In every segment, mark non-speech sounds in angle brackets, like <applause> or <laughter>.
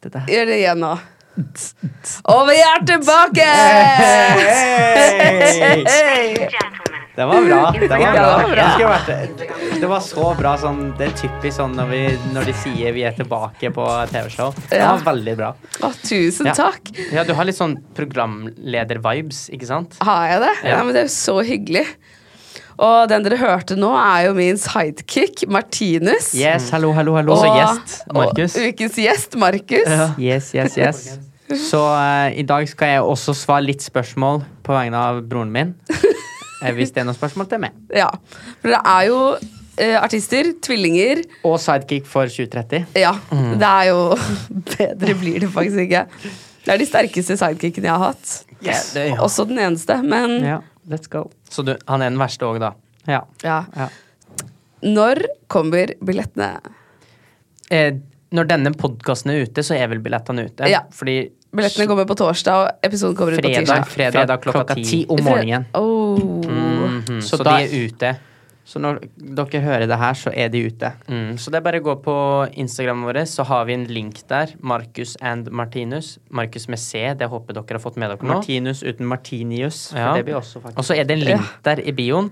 Dette her. Gjør det igjen nå. Og vi er tilbake! Hey! Hei! Det var bra. Det var Ja, det var bra. bra. Det, skulle vært, det var så bra sånn Det er typisk sånn når, vi, når de sier vi er tilbake på TV-show. Det Ja. var veldig bra. Å, tusen Ja. takk. Ja, du har litt sånn programleder-vibes, ikke sant? Har jeg det? Ja. Ja, men Det er jo så hyggelig. Og den dere hørte nå, er jo min sidekick, Martinus. Yes, hallo, hallo, hallo. Også Og- gjest, Markus. Og ukens gjest, Markus. <laughs> Yes, yes, yes. Så eh, i dag skal jeg også svare litt spørsmål på vegne av <laughs> broren min. Eh, Hvis det er noen spørsmål til meg. Ja. For det er jo eh, artister, tvillinger. Og sidekick for 2030. Ja. Mm. Det er jo <laughs> Bedre blir det faktisk ikke. Det er de sterkeste sidekickene jeg har hatt. Yes. Ja, det er- Også den eneste, men Ja, let's go. Så du, han er den verste òg, da. Ja. ja. ja. Når kommer billettene? eh, når denne podkasten er ute, så er vel billettene ute. Ja. Fordi Billettene kommer på torsdag, og episoden kommer ut på fredag, tirsdag. fredag, klokka ti om morgenen. Oh. Mhm, Så så da- de er ute. Så når dere hører det her, så er de ute. Mm, så det er bare å gå på Instagramen vår, så har vi en link der. Marcus and Martinus. Marcus med C, det håper dere har fått med dere nå. Martinus uten Martinius. For Ja. det blir også faktisk Og så er det en link der i bioen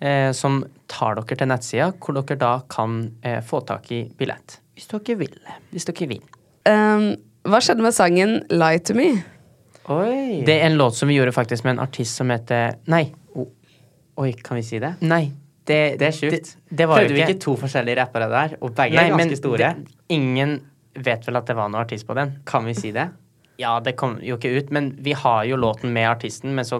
eh, som tar dere til nettsida, hvor dere da kan eh, få tak i billett. Hvis dere vil. Hvis dere vil. Um, hva skjedde med sangen 'Lie to Me'? Oi! Det er en låt som vi gjorde faktisk med en artist som heter Nei. o- Oi, kan vi si det? Nei. Det, Det er sjukt. Det, det var jo Prøvde vi ikke to forskjellige rappere der, og begge Nei, er men ganske store? det- ingen vet vel at det var noen artist på den. Kan vi si det? <laughs> Ja, det kom jo ikke ut, men vi har jo låten med artisten, men så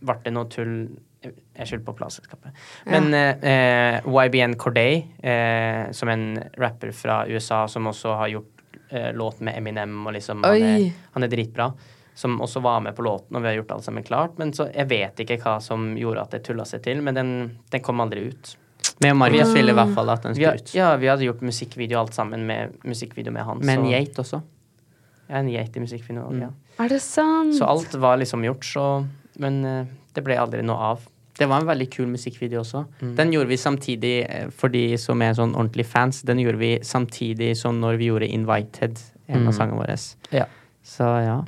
ble det noe tull Jeg er skyld på plateselskapet. Men eh, eh, YBN Corday, eh, som en rapper fra USA som også har gjort eh, låt med Eminem, og liksom han er, Oi. han er dritbra, som også var med på låten, og vi har gjort alt sammen klart, men så jeg vet ikke hva som gjorde at det tulla seg til, men den, den kom aldri ut. Med Marius ville i hvert fall at den Vi, har, skulle ut. ja, vi hadde gjort musikkvideo alt sammen med musikkvideo med han. Med en så- geit også. Mm. Ja, en geit i musikkvideo. Ja. Er det sant? Så alt var liksom gjort, så Men eh, det ble aldri noe av. Mm. Det var en veldig kul musikkvideo også. Den gjorde vi samtidig, eh, for de som er sånn ordentlige fans, den gjorde vi samtidig som når vi gjorde Invited, en av sangene våre. Mm. Ja. Så ja.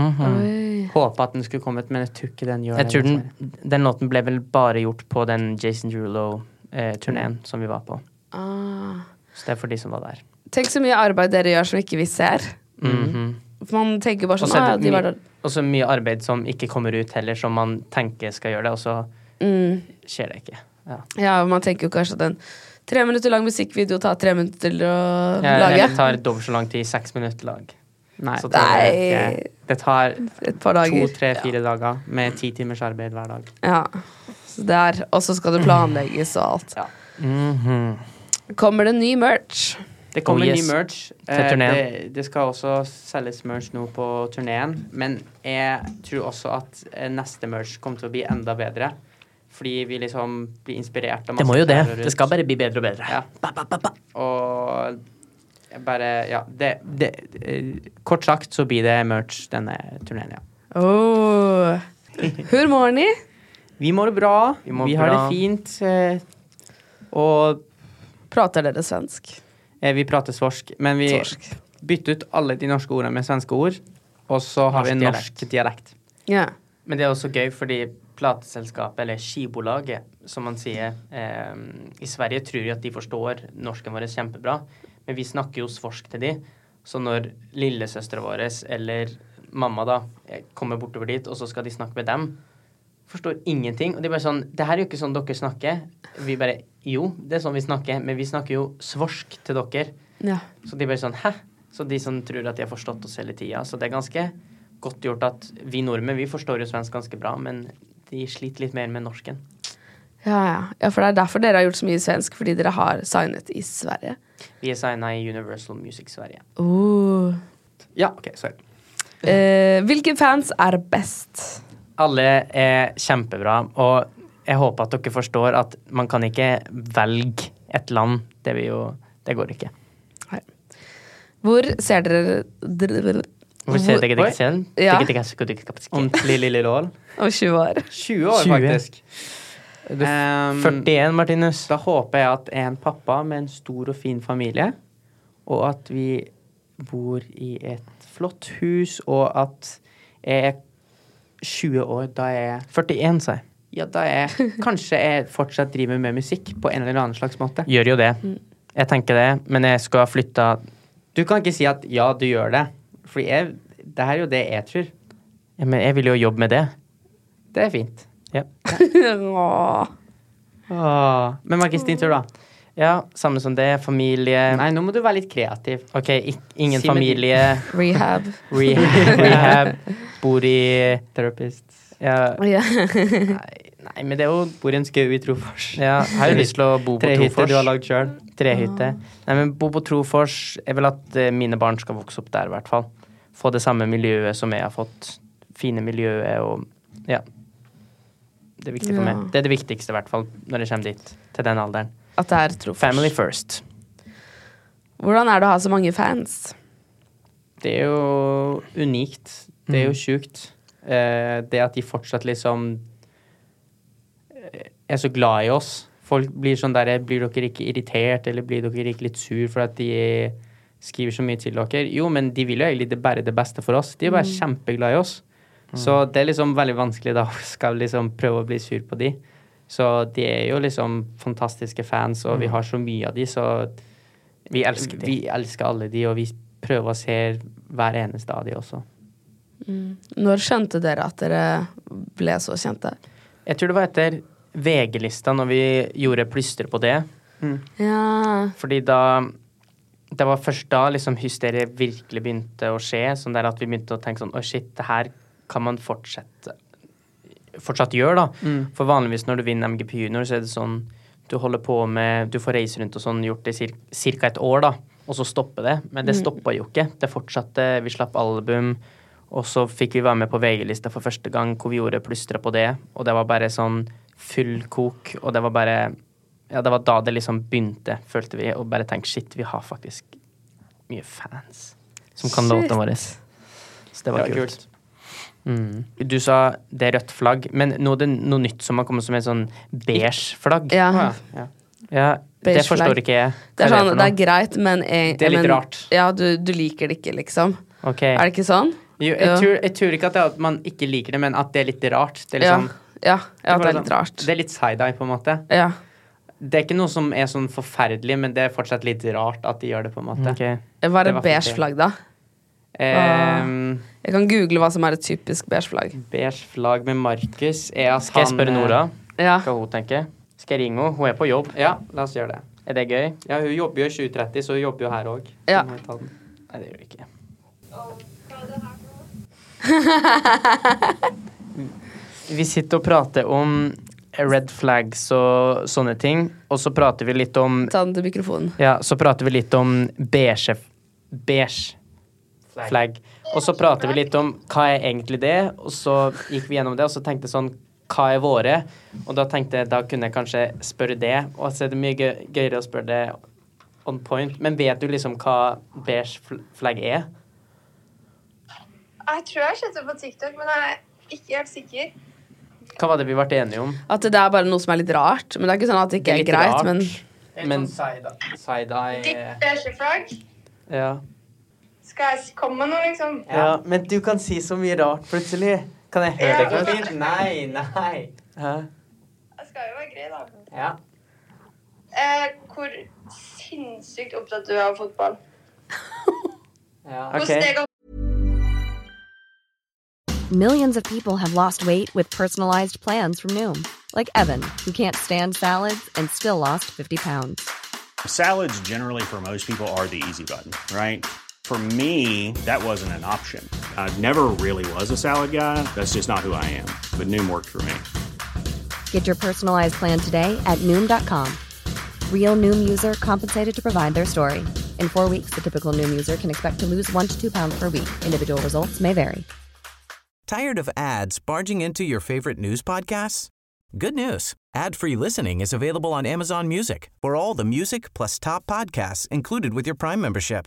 mm. Oi. Håpa at den skulle kommet, men jeg tror ikke den gjør Jeg tror det. den, den låten ble vel bare gjort på den Jason Drulo-turneen som vi var på. Ah. Så det er for de som var der. Tenk så mye arbeid dere gjør som ikke vi ser. For Man tenker bare Mhm. Og sånn så ah, er de det var mye, der. også mye arbeid som ikke kommer ut heller, som man tenker skal gjøre det, og så Mm. skjer det ikke. Ja. Ja, Man tenker jo kanskje at en tre minutter lang musikkvideo tar tre minutter til å Jeg, det lage. tar dobbelt så lang tid. Seks minutter lag. Nei. Så det, Nei, Det tar et par dager. to, tre, fire dager med ti timers arbeid hver dag. Ja. Så det er, og så skal det planlegges og alt. Ja. Mhm. Kommer det ny merch? Det kommer Oh, yes. ny merch. Til Eh, turnéen. det, det skal også selges merch nå på turneen. Men jeg tror også at eh, neste merch kommer til å bli enda bedre. Fordi vi liksom blir inspirert av masse klær rundt. bare bli bedre og bedre. Ja. Og jeg bare Ja. Det, det, eh, kort sagt så blir det merch denne turneen, ja. Oh. Hur mår ni? Vi må det bra. Vi, Vi må har det bra. fint. eh, Og Prater dere svensk? eh, vi prater svorsk, men vi Torsk. bytter ut alle de norske ordene med svenske ord. Og så har vi en Norsk norsk dialekt. Ja. Men det er også gøy fordi plateselskapet, eller skibolaget, som man sier eh, I Sverige tror de at de forstår norsken vår kjempebra, men vi snakker jo svorsk til de. Så når lillesøstera vår eller mamma da eh, kommer bortover dit, og så skal de snakke med dem, forstår ingenting. Og de er bare sånn Det her er jo ikke sånn dere snakker. Vi bare Jo, det er sånn vi snakker, men vi snakker jo svorsk til dere. ja. Så de bare sånn Hæ? Så de som tror at de har forstått oss hele tida. Så det er ganske godt gjort at vi nordmenn vi forstår jo svensk ganske bra, men de sliter litt mer med norsken. Ja, ja. ja, for det er derfor dere har gjort så mye svensk, fordi dere har signet i Sverige. Vi er signa i Universal Music Sverige. Oh. Ja, OK, sorry. Eh, hvilke fans er best? Alle er kjempebra, og jeg håper at dere forstår at man kan ikke velge et land. Det vil jo Det går ikke. Her. Hvor ser dere dr- Hvorfor sier dere det Oi. ikke selv? Ja. Dere- dere- dere- dere- dere- dere- Ordentlig lille lål. om 20 år? <laughs> 20 år, 20. faktisk. Du f- Ehm, 41, Martinus. Da håper jeg at jeg er en pappa med en stor og fin familie, og at vi bor i et flott hus, og at jeg er 20 år da jeg 41, sa jeg. Ja, da <laughs> jeg kanskje jeg fortsatt driver med musikk på en eller annen slags måte. Gjør jo det. Jeg tenker det, men jeg skal flytte Du kan ikke si at ja, du gjør det. Fordi jeg, det her er jo det jeg tror. Ja, Men jeg vil jo jobbe med det. Det er fint. Ja. Åh. Ah. Men Markus, din tur, da. Ehm, ja, samme som det. Familie Nei, nå må du være litt kreativ. OK, ik ingen Si med familie. Rehab. <laughs> Rehab. rehab. Bor i Therapist. ja, <laughs> Ja. Nei, men det er jo Bor i en skau i Trofors. ja, Jeg har jo lyst til å bo på Trehytte Trofors. du har lagd sjøl. Trehytte. Nei, men bo på Trofors. Jeg vil at eh, mine barn skal vokse opp der, i hvert fall. Få det samme miljøet som jeg har fått. Fine miljøet og Ja. Det er viktig for Ja. meg. Det er det viktigste, i hvert fall, når jeg kommer dit. Til den alderen. At det er trofast. Family first. Hvordan er det å ha så mange fans? Det er jo unikt. Det er Mm. jo sjukt. Eh, det at de fortsatt liksom eh, er så glad i oss. Folk blir sånn derre Blir dere ikke irritert, eller blir dere ikke litt sur for at de skriver så mye til dere? Jo, men de vil jo egentlig det bare det beste for oss. De er bare Mm. kjempeglad i oss. Så det er liksom veldig vanskelig da <laughs> å skal liksom prøve å bli sur på de. Så de er jo liksom fantastiske fans, og vi har så mye av de, så Mm. Vi elsker de. vi elsker alle de, og vi prøver å se hver eneste av de også. Når skjønte dere at dere ble så kjente? Jeg tror det var etter VG-lista, når vi gjorde plyster på det. Ja. Fordi da Det var først da liksom hysteriet virkelig begynte å skje. Sånn der at vi begynte å tenke sånn Å, shit, det her kan man fortsette Fortsatt gjøre, da. Mm. For vanligvis når du vinner MGP Junior, så er det sånn Du holder på med Du får reise rundt og sånn, gjort det i ca. et år, da. Og så stopper det. Men det stoppa jo ikke. Det fortsatte. Vi slapp album. Og så fikk vi være med på VG-lista for første gang, hvor vi gjorde plystra på det. Og det var bare sånn full kok, og det var bare ja, det var da det liksom begynte, følte vi. Og bare tenk, shit, vi har faktisk mye fans som kan Shit. låtene våre. Så det var kult. Mm. Du sa det er rødt flagg, men nå er det noe nytt som har kommet som et sånn beige flagg. ja. Ja, ja. Ja, det Beige forstår flagg. ikke jeg. Det er Hva sånn, for det noe? er greit, men en- Det er litt men, rart. Ja, du, du liker det ikke, liksom. Ok. Er det ikke sånn? Jo, jeg, Ja. Tror, jeg tror ikke at, det er at man ikke liker det, men at det er litt rart. Det er litt, Ja. sånn, Ja, ja bare det er sånn- litt rart. det er litt side-eye, på en måte. Ja. Det er ikke noe som er sånn forferdelig, men det er fortsatt litt rart at de gjør det, på en måte. Ok. Hva er Det et var beige fint, flagg, da? Ehm, Jeg kan google hva som er et typisk beige flagg. beige flagg med Markus er at Skal jeg spørre han, eh, Nora Ja. hva hun tenker? Skal jeg ringe henne? Hun er på jobb. Ja, la oss gjøre det. Er det gøy? Ja, hun jobber jo i 2030, så hun jobber jo her òg. Ja. Nei, det <laughs> gjør det ikke. Vi sitter og prater om red flags og sånne ting, og så prater vi litt om Ta den til mikrofonen. Ja, så prater vi litt om beige Beige flagg. Og så prater vi litt om hva er egentlig det, og så gikk vi gjennom det, og så tenkte jeg sånn hva er våre? Og da tenkte jeg da kunne jeg kanskje spørre det. Og så er det mye gøy, gøyere å spørre det on point. Men vet du liksom hva beige fl- flagg er? Jeg tror jeg har sett det på TikTok, men jeg er ikke helt sikker. Hva var det vi ble enige om? At det er bare noe som er litt rart. Men det er ikke sånn at det ikke er, litt greit, rart. men Men Ditt Side-eye beige flagg. ja. Skal jeg komme med noe, liksom? ja. Men du kan si så mye rart plutselig. Kan jeg høre høre det det først? først? Nei, nei. Jeg skal jo være grei, da. Ja. Eh, hvor sinnssykt opptatt du er av fotball. ja. Hvordan Ok. det går Millions of people have lost weight with personalized plans from Noom, like Evan, who can't stand salads and still lost 50 pounds. Salads, generally, for most people, are the easy button, right? For me, that wasn't an option. I never really was a salad guy. That's just not who I am. But Noom worked for me. Get your personalized plan today at Noom.com. Real Noom user compensated to provide their story. In four weeks, the typical Noom user can expect to lose one to two pounds per week. Individual results may vary. Tired of ads barging into your favorite news podcasts? Good news. Ad-free listening is available on Amazon Music. For all the music plus top podcasts included with your Prime membership.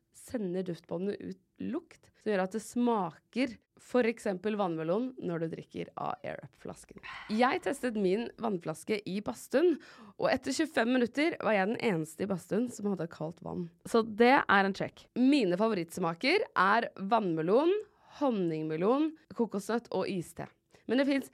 sender duftbåndene ut lukt som gjør at det smaker f.eks. vannmelon når du drikker av AirUp-flasken. Jeg testet min vannflaske i badstuen, og etter 25 minutter var jeg den eneste i badstuen som hadde kaldt vann. Så det er en check. Mine favorittsmaker er vannmelon, honningmelon, kokosnøtt og iste. Men det fins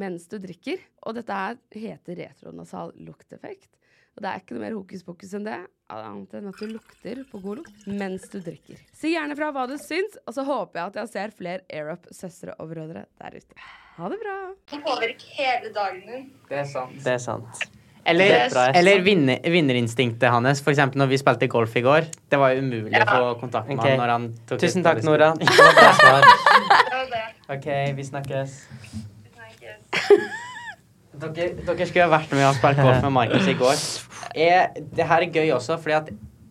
mens du drikker. Og dette her heter retronasal lukteffekt. Og det er ikke noe mer hokus pokus enn det, annet enn at du lukter på god lukt mens du drikker. Si gjerne fra hva du syns, og så håper jeg at jeg ser flere AirUp-søstre og brødre der ute. Ha det bra! Den påvirker hele dagen din. Det er sant. Det er sant. Eller, Det er bra. eller vinne, vinnerinstinktet hans. For eksempel når vi spilte golf i går. Det var jo umulig å få kontakt med Ok. han når han tok Tusen ut takk, alle Nora. spillene. Det var bra svar. Det var det. OK, vi <laughs> snakkes. Vi snakkes. Dere, dere skulle ha vært med og spilt golf med Markus i går. Jeg, det her er gøy også, fordi at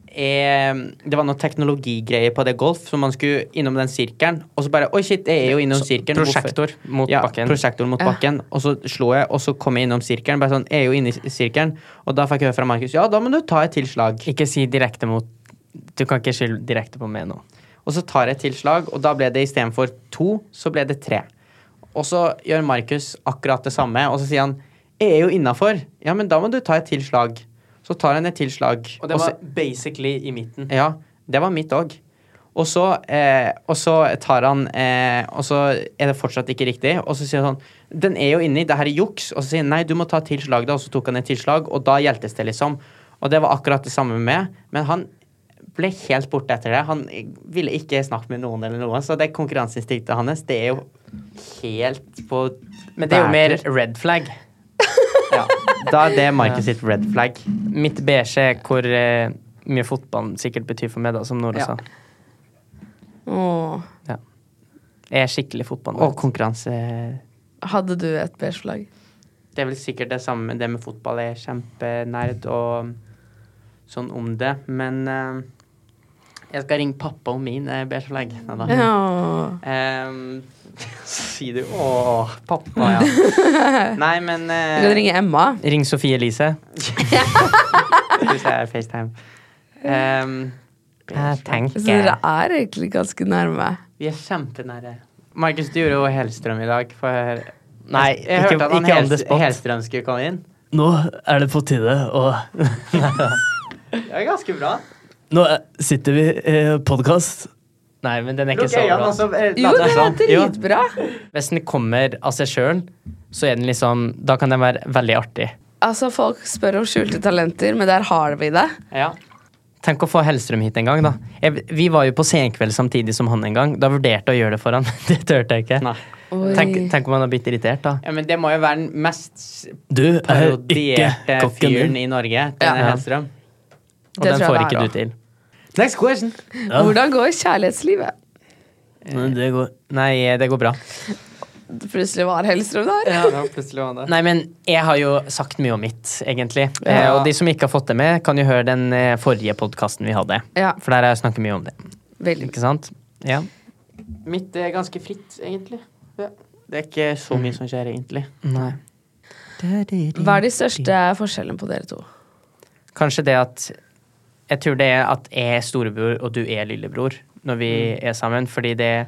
jeg, det var noe teknologigreier på det golf, så man skulle innom den sirkelen. Og så bare Oi, shit, jeg er jo innom sirkelen. hvorfor- Prosjektor mot ja, bakken. prosjektor mot bakken. Og så slo jeg, og så kom jeg innom sirkelen. Bare sånn, jeg er jo inne i sirkelen. Og da fikk jeg høre fra Markus ja, da må du ta et tilslag. Ikke si direkte mot Du kan ikke skylde direkte på meg nå. Og så tar jeg et tilslag, og da ble det istedenfor to, så ble det tre. Og så gjør Markus akkurat det samme, og så sier han jeg er jo innafor. Ja, men da må du ta et tilslag. Så tar han et tilslag. Og det var så, basically i midten. Ja, det var mitt òg. Og så, eh, og så tar han eh, Og så er det fortsatt ikke riktig. Og så sier han sånn Den er jo inni, det her er juks. Og så sier han nei, du må ta et tilslag, da. Og så tok han et tilslag, og da hjeltes det, liksom. Og det var akkurat det samme med meg. Men han ble helt borte etter det. Han ville ikke snakke med noen eller noen. Så det konkurranseinstinktet hans, det er jo helt på Men det er jo mer bærtur. red flag. ja. Da er det Markus sitt red flag. Mitt beige er hvor eh, mye fotball sikkert betyr for meg, da, som Nora Ja. sa. Åh. Jeg er skikkelig fotball. Og konkurranse... Hadde du et beige flagg? Det er vel sikkert det samme det med fotball. Jeg er kjempenerd og sånn om det. Men eh, jeg skal ringe pappa om min eh, beige flagg. Neida. Ja. Eh, <laughs> Ehm, sier du 'Å, pappa', ja. Nei, men Du kan eh, ringe Emma. Ring Sofie Elise. Hvis jeg er FaceTime. Ehm, Jeg Så tenker dere er egentlig ganske nærme. vi er kjempenære. Markus, du gjorde jo Hellstrøm i dag. Få høre. Nei, jeg jeg ikke- hørte at han ikke on Hels- the spot. Hellstrøm skulle komme inn. Nå er det på tide, og Det er ganske bra. nå eh, sitter vi eh, i podkast. Nei, men den er ikke Lukk så øynene, bra. og så eh, Jo, later det jeg var sånn. dritbra! Hvis den kommer av seg sjøl, så er den liksom Da kan den være veldig artig. Altså, folk spør om skjulte talenter, men der har vi det. Ja. Tenk å få Hellstrøm hit en gang, da. Jeg, vi var jo på Senkveld samtidig som han en gang. Da vurderte jeg å gjøre det for han. <laughs> Det turte jeg ikke. Nei. Oi. Tenk, tenk om han har blitt irritert, da. Ja, men det må jo være den mest Du er ikke parodierte kokken fyren min. i Norge. Ja. Trine Hellstrøm. Det Og den tror jeg får det ikke er, du til. Next question. Ja. Hvordan går kjærlighetslivet? Men det går Nei, det går bra. Plutselig var Hellstrøm der. Nei, men jeg har jo sagt mye om mitt, egentlig. Eh, og de som ikke har fått det med, kan jo høre den eh, forrige podkasten vi hadde. Ja. For der har jeg snakket mye om det. Veldig. Ikke sant? Ja. Mitt er ganske fritt, egentlig. Det er ikke så mye som skjer, egentlig. Nei. Hva er de største forskjellene på dere to? Kanskje det at Jeg tror det er at jeg er storebror, og du er lillebror når vi Mm. er sammen, fordi det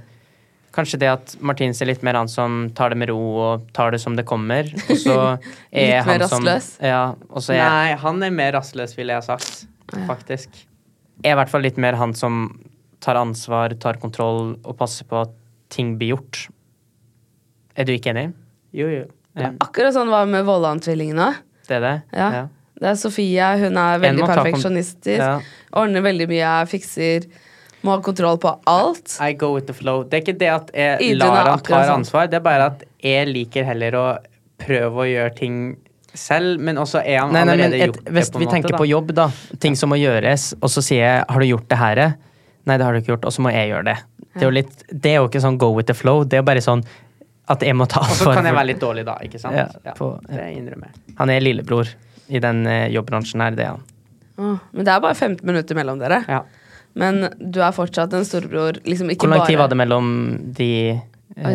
Kanskje det at Martins er litt mer han som tar det med ro og tar det som det kommer. Og så <laughs> er Litt mer han som rastløs? Ja. Og så er Nei, han er mer rastløs, ville jeg ha sagt. Faktisk. er i hvert fall litt mer han som tar ansvar, tar kontroll og passer på at ting blir gjort. Er du ikke enig? Jo, jo. Ja. Akkurat sånn var det med Vollan-tvillingene. Det er det? Ja. Det er Sofie, hun er veldig En må ta kon- perfeksjonistisk. Ja. Ordner veldig mye, fikser Må ha kontroll på alt. I go with the flow. Det er ikke det at jeg Idun er lar han akkurat ta sånn. ansvar, det er bare at jeg liker heller å prøve å gjøre ting selv, men også er han Nei, nei, men allerede et, gjort det hvis på en vi måte. tenker da. på jobb, da. Ting som må gjøres, og så sier jeg 'har du gjort det her'? Nei, det har du ikke gjort, og så må jeg gjøre det. Det er jo, litt, det er jo ikke sånn go with the flow, det er bare sånn at jeg må ta Og så ansvar kan jeg for- være litt dårlig da, ikke sant? Ja, Ja, på- ja. Det innrømmer jeg. Han er lillebror i den eh, jobbbransjen her, det er han. Åh, Men det er bare 15 minutter mellom dere. Ja. Men du er fortsatt en storebror. Liksom ikke Hvor lang bare... tid var det mellom de Oi,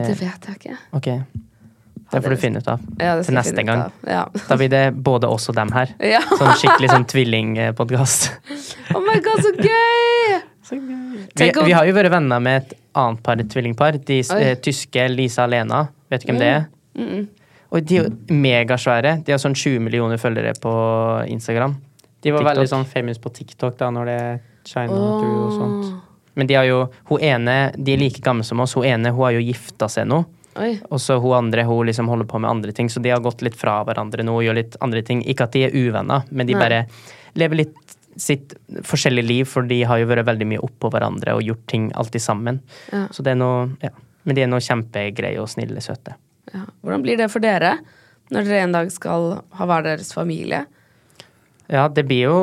eh, det vet jeg ikke. Ok, det får du finne ut av. Ja, det skal Til jeg neste finne gang. ut av. Ja. <laughs> Da blir det både oss og dem her. Ja. Sånn skikkelig sånn tvillingpodkast. <laughs> Oh my god, så gøy! Vi, Tenk om- vi har jo vært venner med et annet par, et tvillingpar. De s- Oi. Mm, eh, tyske Lisa og Lena. Vet du hvem det er? Og de er jo megasvære. De har sånn 20 millioner følgere på Instagram. De var TikTok. veldig sånn famous på TikTok da, når det er China Drew og sånt. Men de, har jo, hun ene, de er like gamle som oss. Hun ene hun har jo gifta seg nå. Oi. Og så hun andre hun liksom holder på med andre ting, så de har gått litt fra hverandre nå og gjør litt andre ting. Ikke at de er uvenner, men de Nei. bare lever litt sitt forskjellige liv, for de har jo vært veldig mye oppå hverandre og gjort ting alltid sammen. Ja. Så det er noe, ja. Men de er noe kjempegreie og snille, søte. Ja. Hvordan blir det for dere når dere en dag skal ha hver deres familie? Ja, det blir jo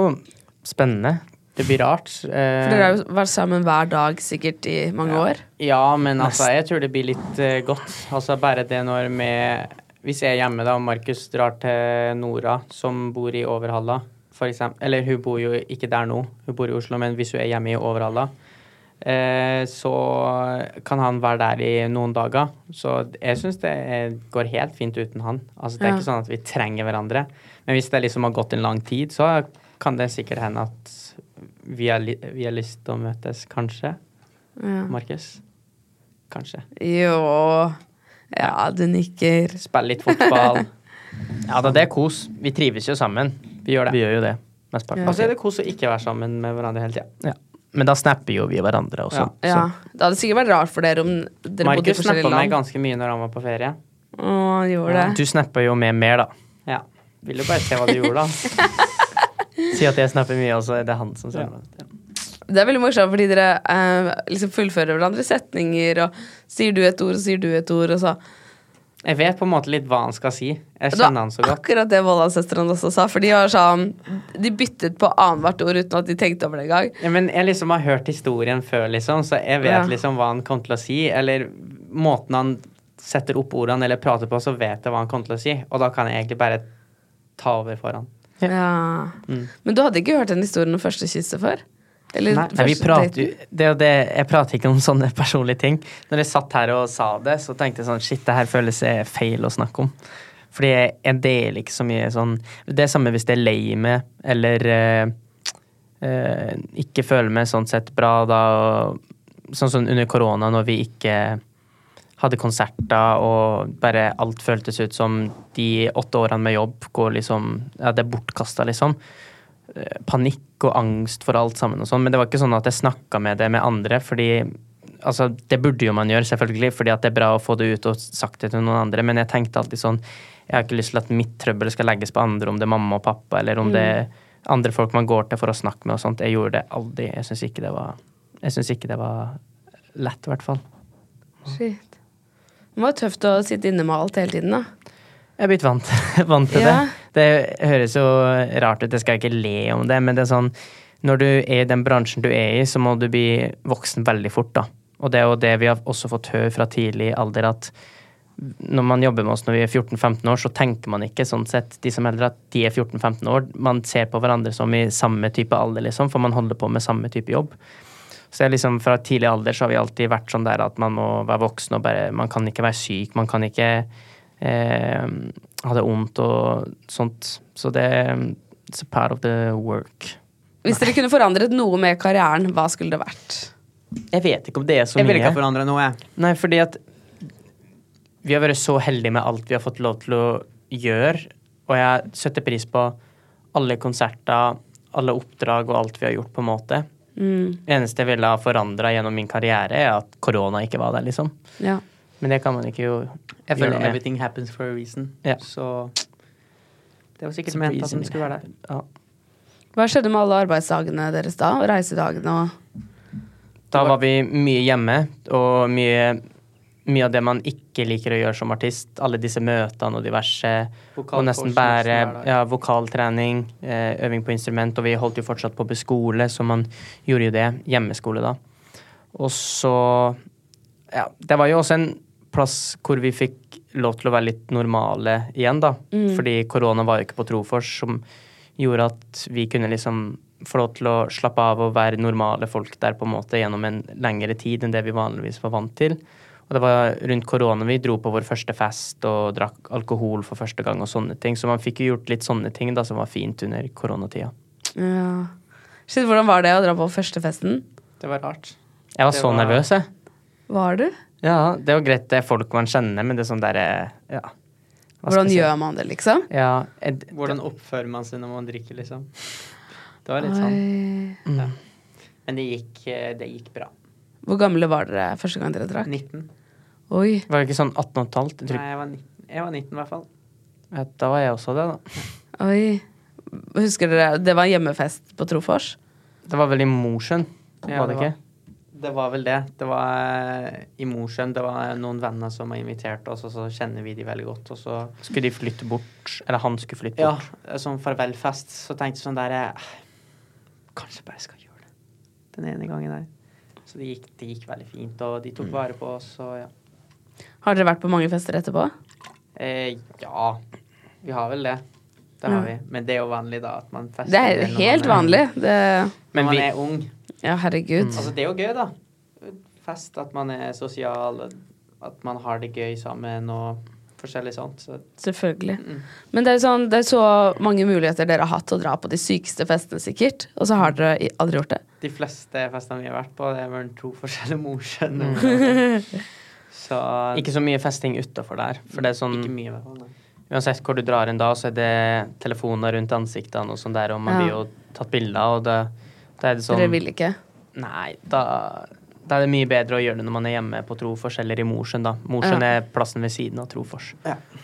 spennende. Det blir rart. eh, For dere har jo vært sammen hver dag sikkert i mange år. Ja, men altså, jeg tror det blir litt eh, godt. Altså, bare det når med Hvis jeg er hjemme, da, og Markus drar til Nora, som bor i Overhalla, for eksempel Eller hun bor jo ikke der nå, hun bor i Oslo, men hvis hun er hjemme i Overhalla, eh, så kan han være der i noen dager. Så jeg syns det eh, går helt fint uten han. Altså, det er Ja. ikke sånn at vi trenger hverandre. Men hvis det liksom har gått en lang tid, så kan det sikkert hende at vi har, li vi har lyst til å møtes, kanskje. Ja. Markus? Kanskje. Jo Ja, du nikker. Spille litt fotball. Altså, Ja da, det er kos. Vi trives jo sammen. Vi gjør det. Vi gjør jo det. Mesteparten. Og av så er tiden. det kos å ikke være sammen med hverandre hele tida. Ja. Men da snapper jo vi hverandre sånn. også. Ja. Det hadde sikkert vært rart for dere om dere bodde i Markus snappa forskjellige meg land. ganske mye når han var på ferie. Å, han gjorde det. Du snapper jo med mer, da. Ja. Vil jo bare se hva du gjorde, da. Si at jeg snapper mye, og så er det han som sender det. Ja. Det er veldig morsomt fordi dere eh, liksom fullfører hverandres setninger, og sier du et ord, og sier du et ord, og så Jeg vet på en måte litt hva han skal si. Jeg Det var kjenner han så godt. akkurat det Vollan-søstrene også sa, for de var sånn De byttet på annethvert ord uten at de tenkte over det engang. Ja, men jeg liksom har hørt historien før, liksom, så jeg vet Ja. liksom hva han kommer til å si. Eller måten han setter opp ordene eller prater på, så vet jeg hva han kommer til å si. Og da kan jeg egentlig bare ta over for han. Ja. Men du hadde ikke hørt den historien om første kysset før? Eller Mm. Nei, Nei, vi første prater, daten? jo- det er jo det, jeg prater ikke om sånne <laughs> personlige ting. Når jeg satt her og sa det, så tenkte jeg sånn Shit, det her føles eh, feil å snakke om. Fordi jeg, jeg deler ikke så mye sånn Det er samme hvis jeg er lei meg eller eh, eh, ikke føler meg sånn sett bra da og, Sånn som under korona, når vi ikke hadde konserter og bare alt føltes ut som de åtte årene med jobb går liksom Ja, det er bortkasta, liksom panikk og angst for alt sammen og sånn, men det var ikke sånn at jeg snakka med det med andre, fordi Altså, det burde jo man gjøre, selvfølgelig, fordi at det er bra å få det ut og sagt det til noen andre, men jeg tenkte alltid sånn Jeg har ikke lyst til at mitt trøbbel skal legges på andre, om det er mamma og pappa, eller om det er andre folk man går til for å snakke med og sånt. Jeg gjorde det aldri. Jeg syns ikke det var Jeg syns ikke det var lett, i hvert fall. Shit. Det må være tøft å sitte inne med alt hele tiden, da. Jeg er blitt vant, vant <laughs> til Ja. det. Det høres jo rart ut, jeg skal ikke le om det, men det er sånn Når du er i den bransjen du er i, så må du bli voksen veldig fort, da. Og det er jo det vi har også fått høre fra tidlig alder, at når man jobber med oss når vi er 14-15 år, så tenker man ikke sånn sett, de som er eldre, at de er 14-15 år. Man ser på hverandre som i samme type alder, liksom, for man holder på med samme type jobb. Så jeg liksom Fra tidlig alder så har vi alltid vært sånn der at man må være voksen og bare Man kan ikke være syk, man kan ikke eh, ha det vondt og sånt. Så det It's a part of the work. Hvis dere kunne forandret noe med karrieren, hva skulle det vært? Jeg vet ikke om det er så Jeg vil mye. ikke ha forandra noe, jeg. Nei, fordi at vi har vært så heldige med alt vi har fått lov til å gjøre, og jeg setter pris på alle konserter, alle oppdrag og alt vi har gjort, på en måte. Mm. Det eneste jeg ville ha forandra gjennom min karriere, er at korona ikke var der, liksom. Ja. Men det kan man ikke jo Jeg føler gjøre noe med. everything happens for a reason. Ja. Så det var sikkert Så ment at reason den skulle være der. Ja. Hva skjedde med alle arbeidsdagene deres da? Og reisedagene og Da var vi mye hjemme, og mye, mye av det man ikke liker å gjøre som artist. Alle disse møtene og diverse. Og nesten Vokalkursen som bare er der. ja, vokaltrening, eh, øving på instrument. Og vi holdt jo fortsatt på på skole, så man gjorde jo det. Hjemmeskole, da. Og så Ja, det var jo også en plass hvor vi fikk lov til å være litt normale igjen, da. Mm. Fordi korona var jo ikke på Trofors, som gjorde at vi kunne liksom få lov til å slappe av og være normale folk der på en måte gjennom en lengre tid enn det vi vanligvis var vant til. Og det var rundt korona vi dro på vår første fest og drakk alkohol for første gang og sånne ting. Så man fikk jo gjort litt sånne ting da som var fint under koronatida. Ja. Shit, hvordan var det å dra på første festen? Det var rart. Jeg var Det så var- nervøs, jeg. Var du? Ja, det er jo greit det er folk man kjenner, men det er sånn derre ja. Hva Hvordan skal jeg si? gjør man det, liksom? Ja, jeg, Hvordan oppfører man seg når man drikker, liksom? Det var litt sånn. Oi. Men det gikk, eh, det gikk bra. Hvor gamle var dere første gang dere drakk? 19. Oi. var det ikke sånn 18 og et halvt? Jeg Nei, tror- jeg var 19, jeg var 19 i hvert fall. Ja, Da var jeg også det, da. Oi. Husker dere Det var hjemmefest på Trofors. Det var vel i Mosjøen, Ja, var det det ikke? Det var vel det. Det var eh, i Mosjøen. Det var noen venner som har invitert oss, og så kjenner vi de veldig godt. Og så Skulle de flytte bort? Eller han skulle flytte Ja, bort? sånn farvelfest. Så tenkte jeg sånn der eh, Kanskje bare skal gjøre det den ene gangen der. Så det gikk, det gikk veldig fint, og de Mm. tok vare på oss, og ja. Har dere vært på mange fester etterpå? Eh, ja, vi har vel det. Det har vi. Men det er jo vanlig, da, at man fester. Det er når man helt vanlig. Det, Når Men man vi- er ung. ja, herregud. Altså, det er jo gøy, da. Fest, at man er sosial, at man har det gøy sammen og forskjellig sånt. Så Selvfølgelig. Men det er, sånn, det er så mange muligheter dere har hatt til å dra på de sykeste festene, sikkert. Og så har dere i- aldri gjort det. de fleste festene vi har vært på, det er vel to forskjellige morskjønn. <laughs> Så Ikke så mye festing utafor der. For det er sånn ikke mye, i hvert fall. nei. Uansett hvor du drar inn da, så er det telefoner rundt ansiktene og sånn der, og man Ja. blir jo tatt bilder av, og da, da er det sånn Dere vil ikke. Nei, da, da er det mye bedre å gjøre det når man er hjemme på Trofors eller i Mosjøen, da. Mosjøen Ja. er plassen ved siden av Trofors.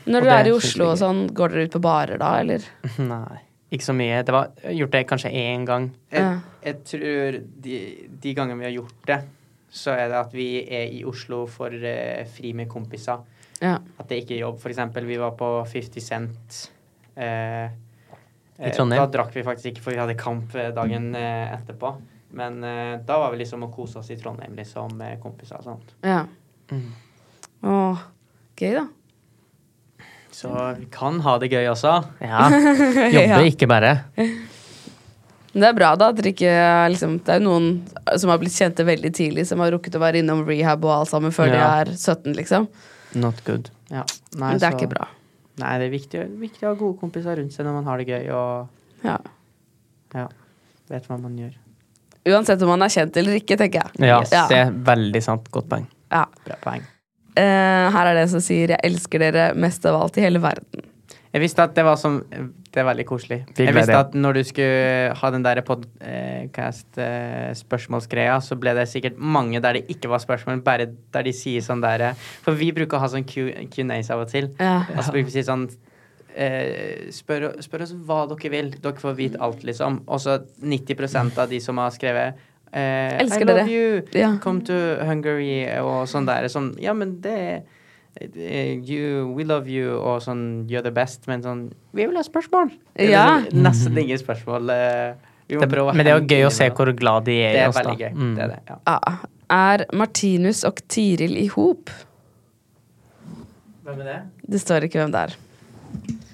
Når dere Og det er i synes vi Oslo og ikke. sånn, går dere ut på barer da, eller? Nei, ikke så mye. Det var jeg har gjort det kanskje én gang. Ja. Jeg, jeg tror de, de gangene vi har gjort det, så er det at vi er i Oslo for eh, fri med kompiser. Ja. At det ikke er jobb. For eksempel, vi var på 50 Cent. Eh, eh, Trondheim? Da drakk vi faktisk ikke, for vi hadde kamp eh, dagen eh, etterpå. Men eh, da var vi liksom og kosa oss i Trondheim, liksom, med kompiser og sånt. ja. Mm. Åh, gøy <laughs> da. Så vi kan ha det gøy også. <laughs> Ja. <laughs> Ja. Jobbe, ikke bare. Men det er bra da at dere ikke liksom, Det er jo noen som har blitt kjente veldig tidlig, som har rukket å være innom rehab og alt sammen før Ja. de er 17, liksom. Not good. Ja. Nei, Men det er så- ikke bra. Nei, det er viktig, viktig å ha gode kompiser rundt seg når man har det gøy og Ja. ja, vet hva man gjør. Uansett om man er kjent eller ikke, tenker jeg. Ja, Ja. det er veldig sant. Godt poeng. Ja. Bra poeng. Eh, her er det som sier 'Jeg elsker dere mest av alt i hele verden'. Jeg visste at det var sånn Det er veldig koselig. Fikk Jeg med visste det. at når du skulle ha den der podcast-spørsmålsgreia, så ble det sikkert mange der det ikke var spørsmål, bare der de sier sånn der eh, For vi bruker å ha sånn Q- Q&As av og til. Ja. Og så bruker vi å si sånn eh, spør, spør oss hva dere vil. Dere får vite alt, liksom. Og så 90 av de som har skrevet eh, Elsker I love dere. you. Ja. Come to Hungary og sånn der. Sånn, ja, men det eh, You, we love you og sånn You're the best, men sånn Vi vil ha spørsmål! Eller Ja. sånn, nesten ingen spørsmål. eh, vi må Det, prøve å men det er jo hente gøy inn å se noe. hvor glad de er Det i er oss, da. veldig gøy. Mm. Det er det. Ja. Ja. Er Martinus og Tiril i hop? Hvem er det? Det står ikke hvem det er.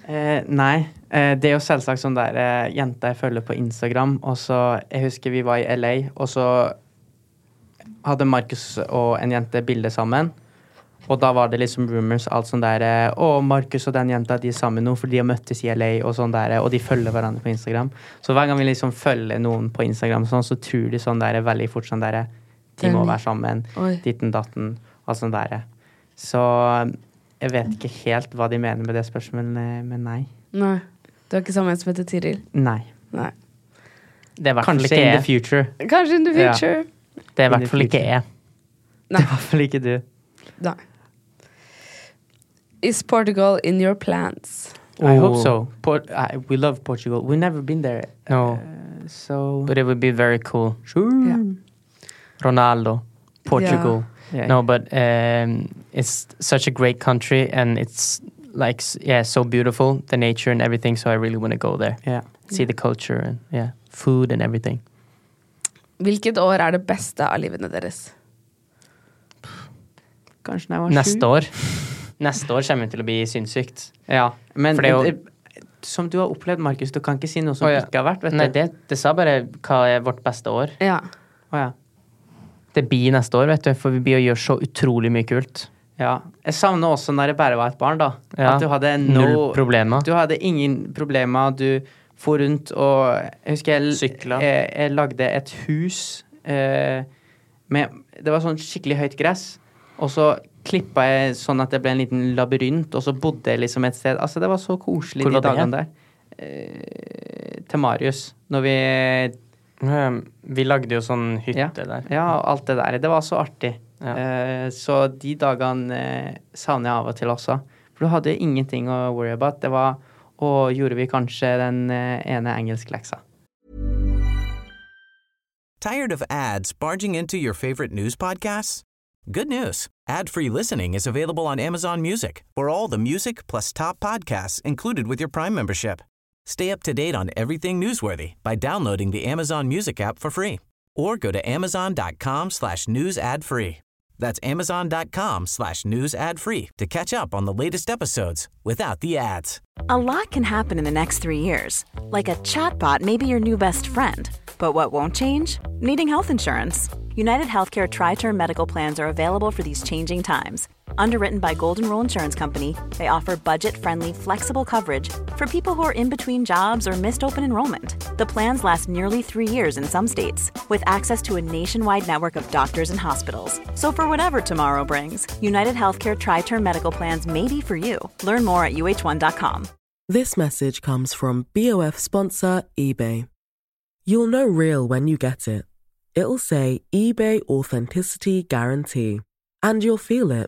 Eh, nei. Eh, det er jo selvsagt sånn der eh, jenta jeg følger på Instagram, og så Jeg husker vi var i LA, og så hadde Markus og en jente bilde sammen. Og da var det liksom rumors alt sånn der eh, Å, Markus og den jenta de er sammen nå, for de har møttes i LA, og sånn der, eh, og de følger hverandre på Instagram. Så hver gang vi liksom følger noen på Instagram, sånn, så tror de sånn der eh, veldig fort sånn der eh, De må Den- være sammen. Oi. Ditten datten. Alt sånn der. eh. Så jeg vet ikke helt hva de mener med det spørsmålet, men- men nei. Nei. Du har ikke sammen en som heter Tiril? Nei. Nei. Det er i hvert fall Kanskje ikke in the jeg. future. Kanskje in the Ja. future. Det er i in the hvert fall ikke future. jeg. Nei. <laughs> I hvert fall ikke du. Nei. Is Portugal in your plans? I Oh. hope so. Por- I, we love Portugal. We've never been there. No. So Mm. But it would be very cool. sure. Ja. Ronaldo, Portugal. Yeah. No, but um, it's such a great country, and it's like s- yeah, so beautiful the nature and everything. So I really want to go there, Yeah. see the culture and yeah, food and everything. Hvilket år er det beste av livene deres? Kanskje når jeg var sju? Neste år. <laughs> Neste år kommer det til å bli sinnssykt. Ja, men For det er jo- eh, som du har opplevd, Markus, du kan ikke si noe som Å, ja. ikke har vært, vet Nei, du. det, det sa bare hva er vårt beste år. Ja. Å, ja. Det blir neste år, vet du, for vi blir å gjøre så utrolig mye kult. ja. Jeg savner også når jeg bare var et barn, da. Ja. At du hadde Null no problemer. Du hadde ingen problemer. Du for rundt og Jeg husker jeg, Sykla. jeg, jeg lagde et hus eh, med Det var sånn skikkelig høyt gress. Og så klippa jeg sånn at det ble en liten labyrint, og så bodde jeg liksom et sted. Altså, det var så koselig Hvor de var det dagene der. Eh, til Marius. Når vi Um, Vi lagde jo sånn Ja. hytte der. Ja, og alt det der. Det var så artig. Ja. Eh, så de dagene eh, savner jeg av og til også. For du hadde jo ingenting å worry about. Det var Å, gjorde vi kanskje den eh, ene engelskleksa? Tired of ads barging into your favorite news podcasts? Good news. Ad-free listening is available on Amazon Music. For all the music plus top podcasts included with your Prime membership. Stay up to date on everything newsworthy by downloading the Amazon Music app for free or go to amazon.com slash news ad free. That's amazon.com slash news ad free to catch up on the latest episodes without the ads. A lot can happen in the next three years. Like a chatbot may be your new best friend. But what won't change? Needing health insurance. United Healthcare Tri Term Medical Plans are available for these changing times. Underwritten by Golden Rule Insurance Company, they offer budget friendly, flexible coverage for people who are in between jobs or missed open enrollment. The plans last nearly three years in some states, with access to a nationwide network of doctors and hospitals. So, for whatever tomorrow brings, United Healthcare Tri Term Medical Plans may be for you. Learn more at uh1.com. This message comes from BOF sponsor eBay. You'll know real when you get it. It'll say eBay Authenticity Guarantee. And you'll feel it.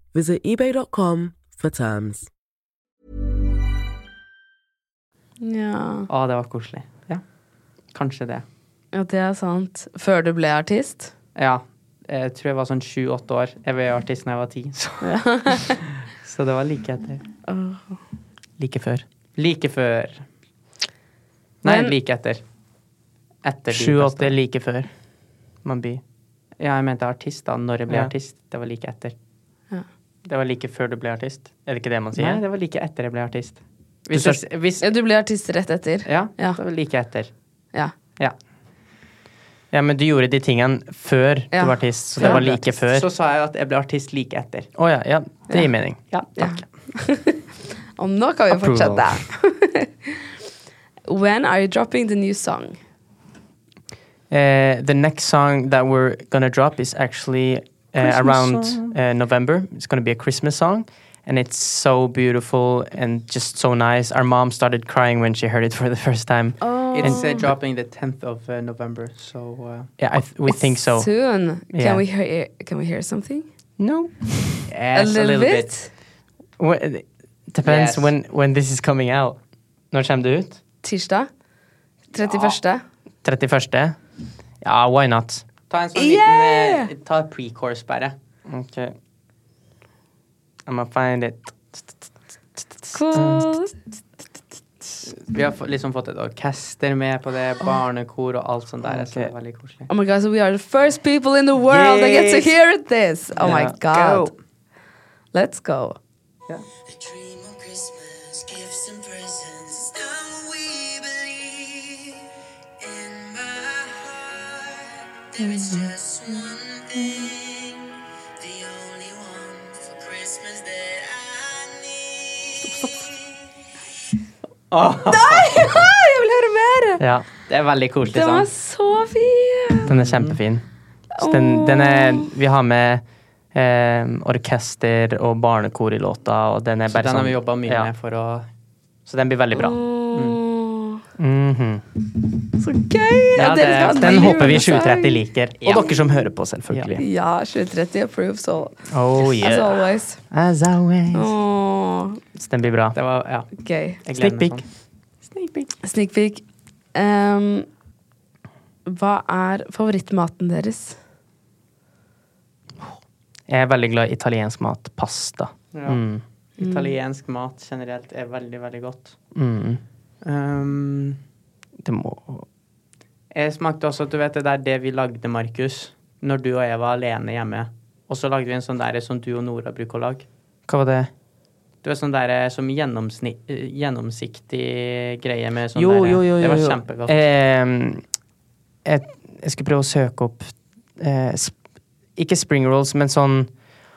Visit eBay.com for terms. ja. Å, det var koselig. Ja, kanskje det. Ja, det er sant. Før du ble artist? Ja. Jeg tror jeg var sånn sju-åtte år. Jeg ble artist da jeg var ti, så, så det var like etter. Like før. Like før Nei, Men- like etter. Etter de Sju-åtte beste. like før man blir. Ja, jeg mente artist, da. Når jeg ble Ja. artist. Det var like etter. Det var like før du ble artist. Er det ikke det man sier? Nei, det var like etter jeg ble artist. Du Hvis sa- jeg, hvis, <laughs> Ja, du ble artist rett etter? ja, Ja. det var like etter. Ja. Ja. Ja, men du gjorde de tingene før Ja. du var artist, så Før det var jeg ble like før. Så Å sa jeg at jeg ble artist like etter. ja, ja, det gir mening. Ja, takk. <laughs> Og nå kan vi Approval. fortsette. <laughs> When are you dropping the new song? Eh, the next song that we're gonna drop is actually uh, around uh, November. It's gonna be a Christmas song, and it's so beautiful and just so nice. Our mom started crying when she heard it for the first time. Oh. It's uh, dropping the 10th of uh, November, so uh, Yeah, I th- we think so. Soon. Can, Yeah. we hear, can we hear something? No, yes, Well, it depends Yes. when when this is coming out. Når kommer det ut? Tirsdag? 31.? 31.? Ja, why not? Ta en sånn Yeah! liten eh, Ta pre-course, bare. Okay. I'm gonna find it. Cool. Vi har få- liksom fått et orkester med på det, barnekor og alt sånt der. Så det Ok. er veldig koselig. Oh my god, so we are the first people in the world that get to Yes. hear this. Oh my Yeah. god. Let's go. Jeg vil høre mer! Ja, Mm-hmm. Det er veldig koselig Den var <laughs> sånn. så fin! Mm. den er kjempefin. Åh. Så den, den er Vi har med eh, orkester og barnekor i låta, og den er Så bare den har sånn- vi jobbet mye ja. med for å Så den blir veldig bra. Åh, Mhm. Så gøy! Ja, Dere skal ha en det, den ny håper vi julesang. 730 liker. Og dere som hører på, selvfølgelig. Ja, 730 approves all, Oh as yeah. always. As always. Åh, Så den blir bra. Det var Ja. gøy. jeg gleder Slick meg pic. sånn. Sneak peek. Ehm, hva er favorittmaten deres? Jeg er veldig glad i italiensk mat. Pasta. sånn. Ja. Mm. Italiensk mat generelt er veldig, veldig godt. Mm. Um, Det må jeg smakte også, du vet, det der det vi lagde, Markus, når du og jeg var alene hjemme. Og så lagde vi en sånn der som du og Nora bruker å lage. Hva var det? Du vet sånn der som gjennomsni, eh, gjennomsiktig greie med sånn Jo, der jo, jo. jo, Det var jo. kjempegodt. Ehm, jeg, jeg skulle prøve å søke opp eh, sp Ikke spring rolls, men sånn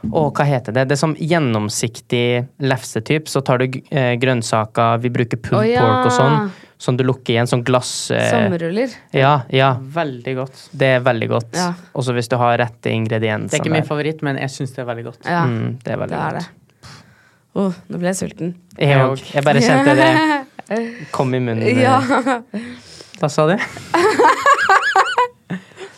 Å, hva heter det? Det er sånn gjennomsiktig lefsetyp. Så tar du g- eh, grønnsaker, vi bruker pulled Å, ja. pork og sånn, som du lukker i en sånn glass... Eh, Sommerruller. ja, ja. Veldig godt. Det er veldig godt. Ja. Også hvis du har rette ingredienser. Det er ikke min favoritt, men jeg syns det er veldig godt. Ja, Mm, det er veldig det er det. godt. Åh, nå ble jeg sulten. Jeg, Jeg og, jeg bare <laughs> kjente det kom i munnen. eh. Ja, Hva sa du?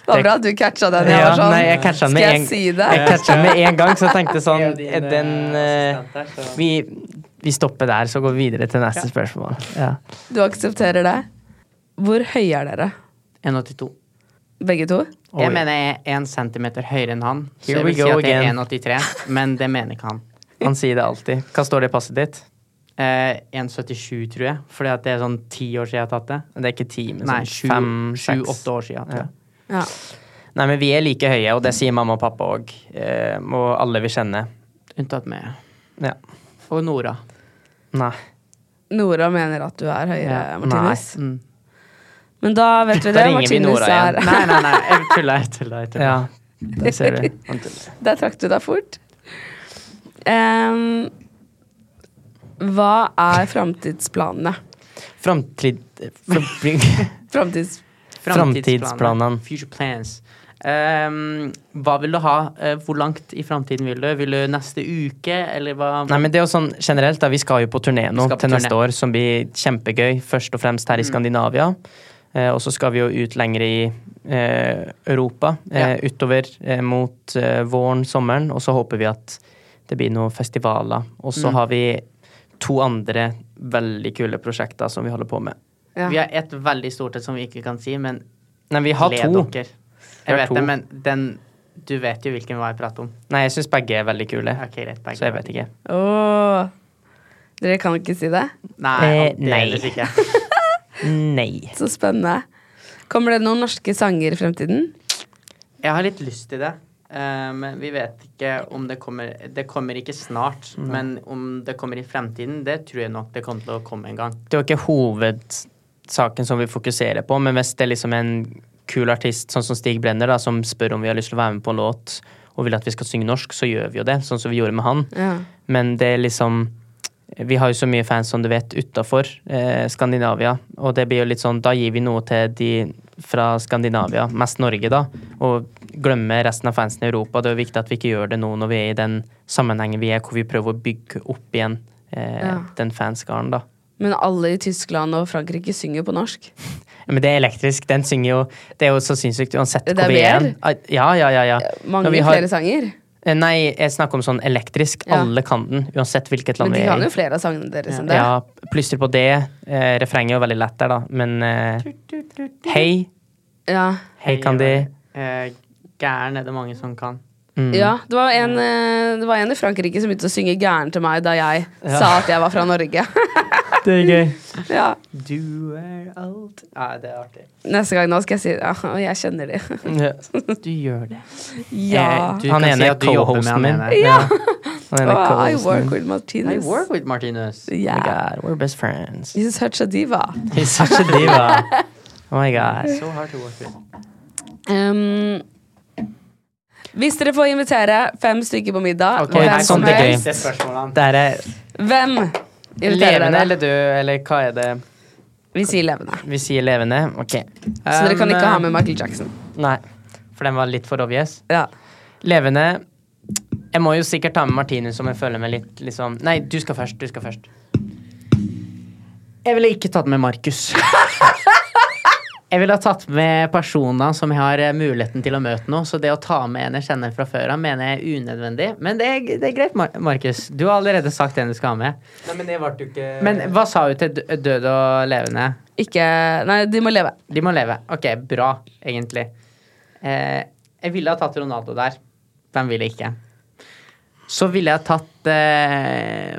det var bra at du catcha den. Jeg Ja, var sånn, nei, jeg catcha skal den med jeg en- si det? Jeg catcha med en gang, så jeg tenkte sånn Jeg og din, eh, Den eh, eh, assistent her, så- vi, vi stopper der, så går vi videre til neste spørsmål. Ja. Du aksepterer det? Hvor høye er dere? 1,82. Begge to? Oi. Jeg mener jeg er én centimeter høyere enn han, så Here jeg we vil si go at jeg er again. 1,83, men det mener ikke han. Han sier det alltid. Hva står det i passet ditt? Eh, 1,77, tror jeg, fordi at det er sånn ti år siden jeg har tatt det. Det er ikke ti, men Nei, sånn sju- fem, seks. sju-åtte år siden. Tror jeg. Ja. Nei, men vi er like høye, og det sier mamma og pappa òg. Eh, og alle vi kjenner. Unntatt meg. Ja. Og Nora. Nei. Nora mener at du er høyere, Ja, Martinus. Mm. Men da vet vi Da det. ringer vi Martinus Nora igjen. er Nei, nei, nei, jeg tuller, jeg tuller. Jeg tuller. Ja, det ser du. Han tuller. <laughs> Der trakk du deg fort. Em, hva er framtidsplanene? Framtid... Framtid... Framtids... Framtidsplanene. Future plans. Ehm, hva vil du ha? Eh, Hvor langt i framtiden vil du? Vil du neste uke, eller hva? Nei, men det er jo sånn generelt, da. Vi skal jo på turné nå Vi skal på til turné. Mm. neste år, som blir kjempegøy. Først og fremst her i Skandinavia. Eh, og så skal vi jo ut lenger i eh, Europa. Eh, Utover eh, mot eh, våren, sommeren. Og så håper vi at det blir noen festivaler. Og Mm. så har vi to andre veldig kule prosjekter som vi holder på med. Ja. Vi har et veldig stort et som vi ikke kan si, men Nei, vi har le to. dere. Vi Jeg har vet to. det, men den Du vet jo hvilken hva jeg prater om. Nei, jeg syns begge er veldig kule. Ok, greit. begge. Så jeg vet ikke. Åh. Dere kan ikke si det? Nei, Eh, nei. aldeles ikke. <laughs> Nei. Så spennende. Kommer det noen norske sanger i fremtiden? Jeg har litt lyst til det. eh, men vi vet ikke om det kommer Det kommer ikke snart, men om det kommer i fremtiden, det tror jeg nok det kommer til å komme en gang. det er jo ikke hovedsaken som vi fokuserer på, men hvis det er liksom en kul artist, sånn som Stig Brenner, da, som spør om vi har lyst til å være med på en låt, og vil at vi skal synge norsk, så gjør vi jo det, sånn som vi gjorde med han. Ja. Men det er liksom Vi har jo så mye fans, som du vet, utafor eh, Skandinavia, og det blir jo litt sånn Da gir vi noe til de fra Skandinavia, mest Norge, da, og glemmer resten av fansen i Europa. Det er jo viktig at vi ikke gjør det nå når vi er i den sammenhengen vi er, hvor vi prøver å bygge opp igjen eh, Ja. den fanskaren, da. Men alle i Tyskland og Frankrike synger jo på norsk. Ja, Men det er elektrisk. Den synger jo Det er jo så sinnssykt uansett Det er hvor vi er. mer? Ah, Ja, ja, ja. ja. Mange Når vi flere sanger. Eh, Nei, jeg snakker om sånn elektrisk. Ja. Alle kan den, uansett hvilket land Men de vi kan er jo i. flere av sangene deres enn det. Ja, Plystre på det. Eh, refrenget er jo veldig lett der, da. Men eh, Hei, Ja. hei, Candy. Eh, gæren er det mange som kan. Ja, Mm. det var, en, eh, det var en i Frankrike som begynte å synge gæren til meg da jeg sa at jeg var fra Norge. <laughs> Det er gøy. ja. Du er alt Nei, det er artig. Neste gang nå skal jeg si ja, og jeg kjenner de. Du gjør <laughs> det. ja. Eh, du Han kan ene si er at du jobber med co-hosten han min. ene. Ja. Han ene Oh, er I co-hosten work min. with Martinez. I work with Martinez. Oh my Yeah. god, we're best <laughs> friends. He's such a diva. He's such a diva. Oh my god. So hard to work with. Um, hvis dere får invitere fem stykker på middag, Ok, her hvem som kommer det gøy. helst Det er spørsmålet. Det her er eh, Hvem inviterer levende dere? eller død, eller hva er det? Vi sier levende. Vi sier levende. Ok. Um, Så dere kan ikke ha med Michael Jackson. Nei. for den var litt for obvious. Ja. Levende Jeg må jo sikkert ta med Martinus om jeg føler meg litt liksom Nei, du skal først. Du skal først. Jeg ville ikke tatt med <laughs> Markus. Jeg ville ha tatt med personer som jeg har eh, muligheten til å møte nå, så det å ta med en jeg kjenner fra før av, mener jeg er unødvendig. Men det er, det er greit, Mar- Markus. Du har allerede sagt en du skal ha med. Nei, men det ble jo ikke Men hva sa du til dø- død og levende? Ikke Nei, de må leve. De må leve. Ok, bra, egentlig. Eh, jeg ville ha tatt Ronaldo der. Den ville jeg ikke. Så ville jeg tatt eh,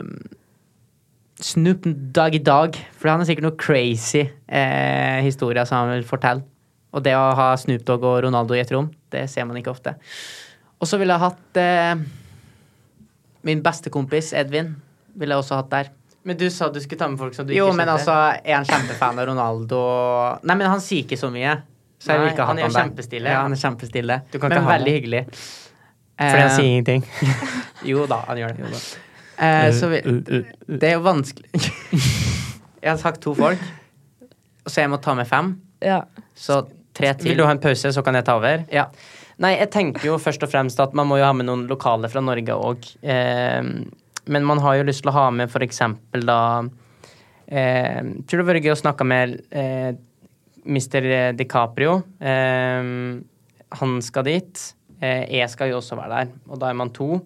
Snoop Dag i dag, for han har sikkert noe crazy eh, historier som han vil fortelle. Og det å ha Snoop Dogg og Ronaldo i et rom, det ser man ikke ofte. Og så ville jeg hatt eh, min beste kompis Edvin. Ville jeg også hatt der. Men du sa du skulle ta med folk som du Jo, ikke men kjente. altså, er han kjempefan av Ronaldo? Nei, men han sier ikke så mye. Så jeg vil Nei, ikke ha han han er der. kjempestille. Ja, han er kjempestille. Du kan men ikke ha veldig hyggelig. Fordi han sier ingenting. jo da, han gjør det. Eh, så vi, det er jo vanskelig <laughs> Jeg har sagt to folk, så jeg må ta med fem. Ja. Så tre til. Vil du ha en pause, så kan jeg ta over? Ja. Nei, jeg tenker jo først og fremst at man må jo ha med noen lokale fra Norge òg. Eh, men man har jo lyst til å ha med for eksempel da eh, Tror det hadde vært gøy å snakke med eh, Mr. DiCaprio. Eh, han skal dit. Eh, jeg skal jo også være der, og da er man to.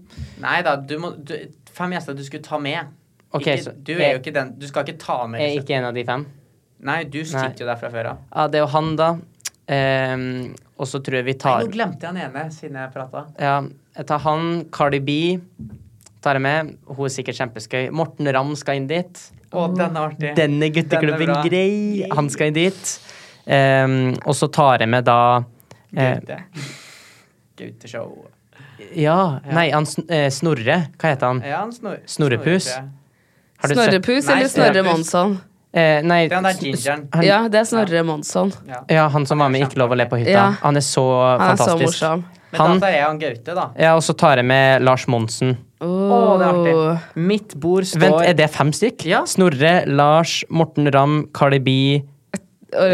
Nei da, du må du, Fem gjester du skulle ta med. Ok, ikke, så- du er jo ikke den Du skal ikke ta med Jeg er liksom. ikke en av de fem. Nei, du sitter jo der fra før av. Ja, det er jo han, da. Eh, og så tror jeg vi Nei, tar Nå glemte jeg han ene siden jeg prata. Ja, jeg tar han, Cardi B tar jeg med. Hun er sikkert kjempeskøy. Morten Ramm skal inn dit. Å, den er artig. Denne gutteklubben Den er bra. grei. Han skal inn dit. Ehm, og så tar jeg med da eh, Gaute. Gauteshow. Ja, nei, han sn eh, Snorre. Hva heter han? Ja, han snor Snorrepus? Har du sett- Snorrepus Nei, eller Snorre Snorrepus. Monsson? Eh, nei, Den der s- gingeren. Han, ja. Ja, det er Snorre Monsson. han som var med i Ikke lov å le på hytta. Ja. Han er så Han er så fantastisk. morsom. Men Han- da tar jeg han Gaute, da. ja, og så tar jeg med Lars Monsen. Å, det er artig. Mitt bord står Vent, er det fem stykk? Ja. Snorre, Lars, Morten Ramm, Cardi B Og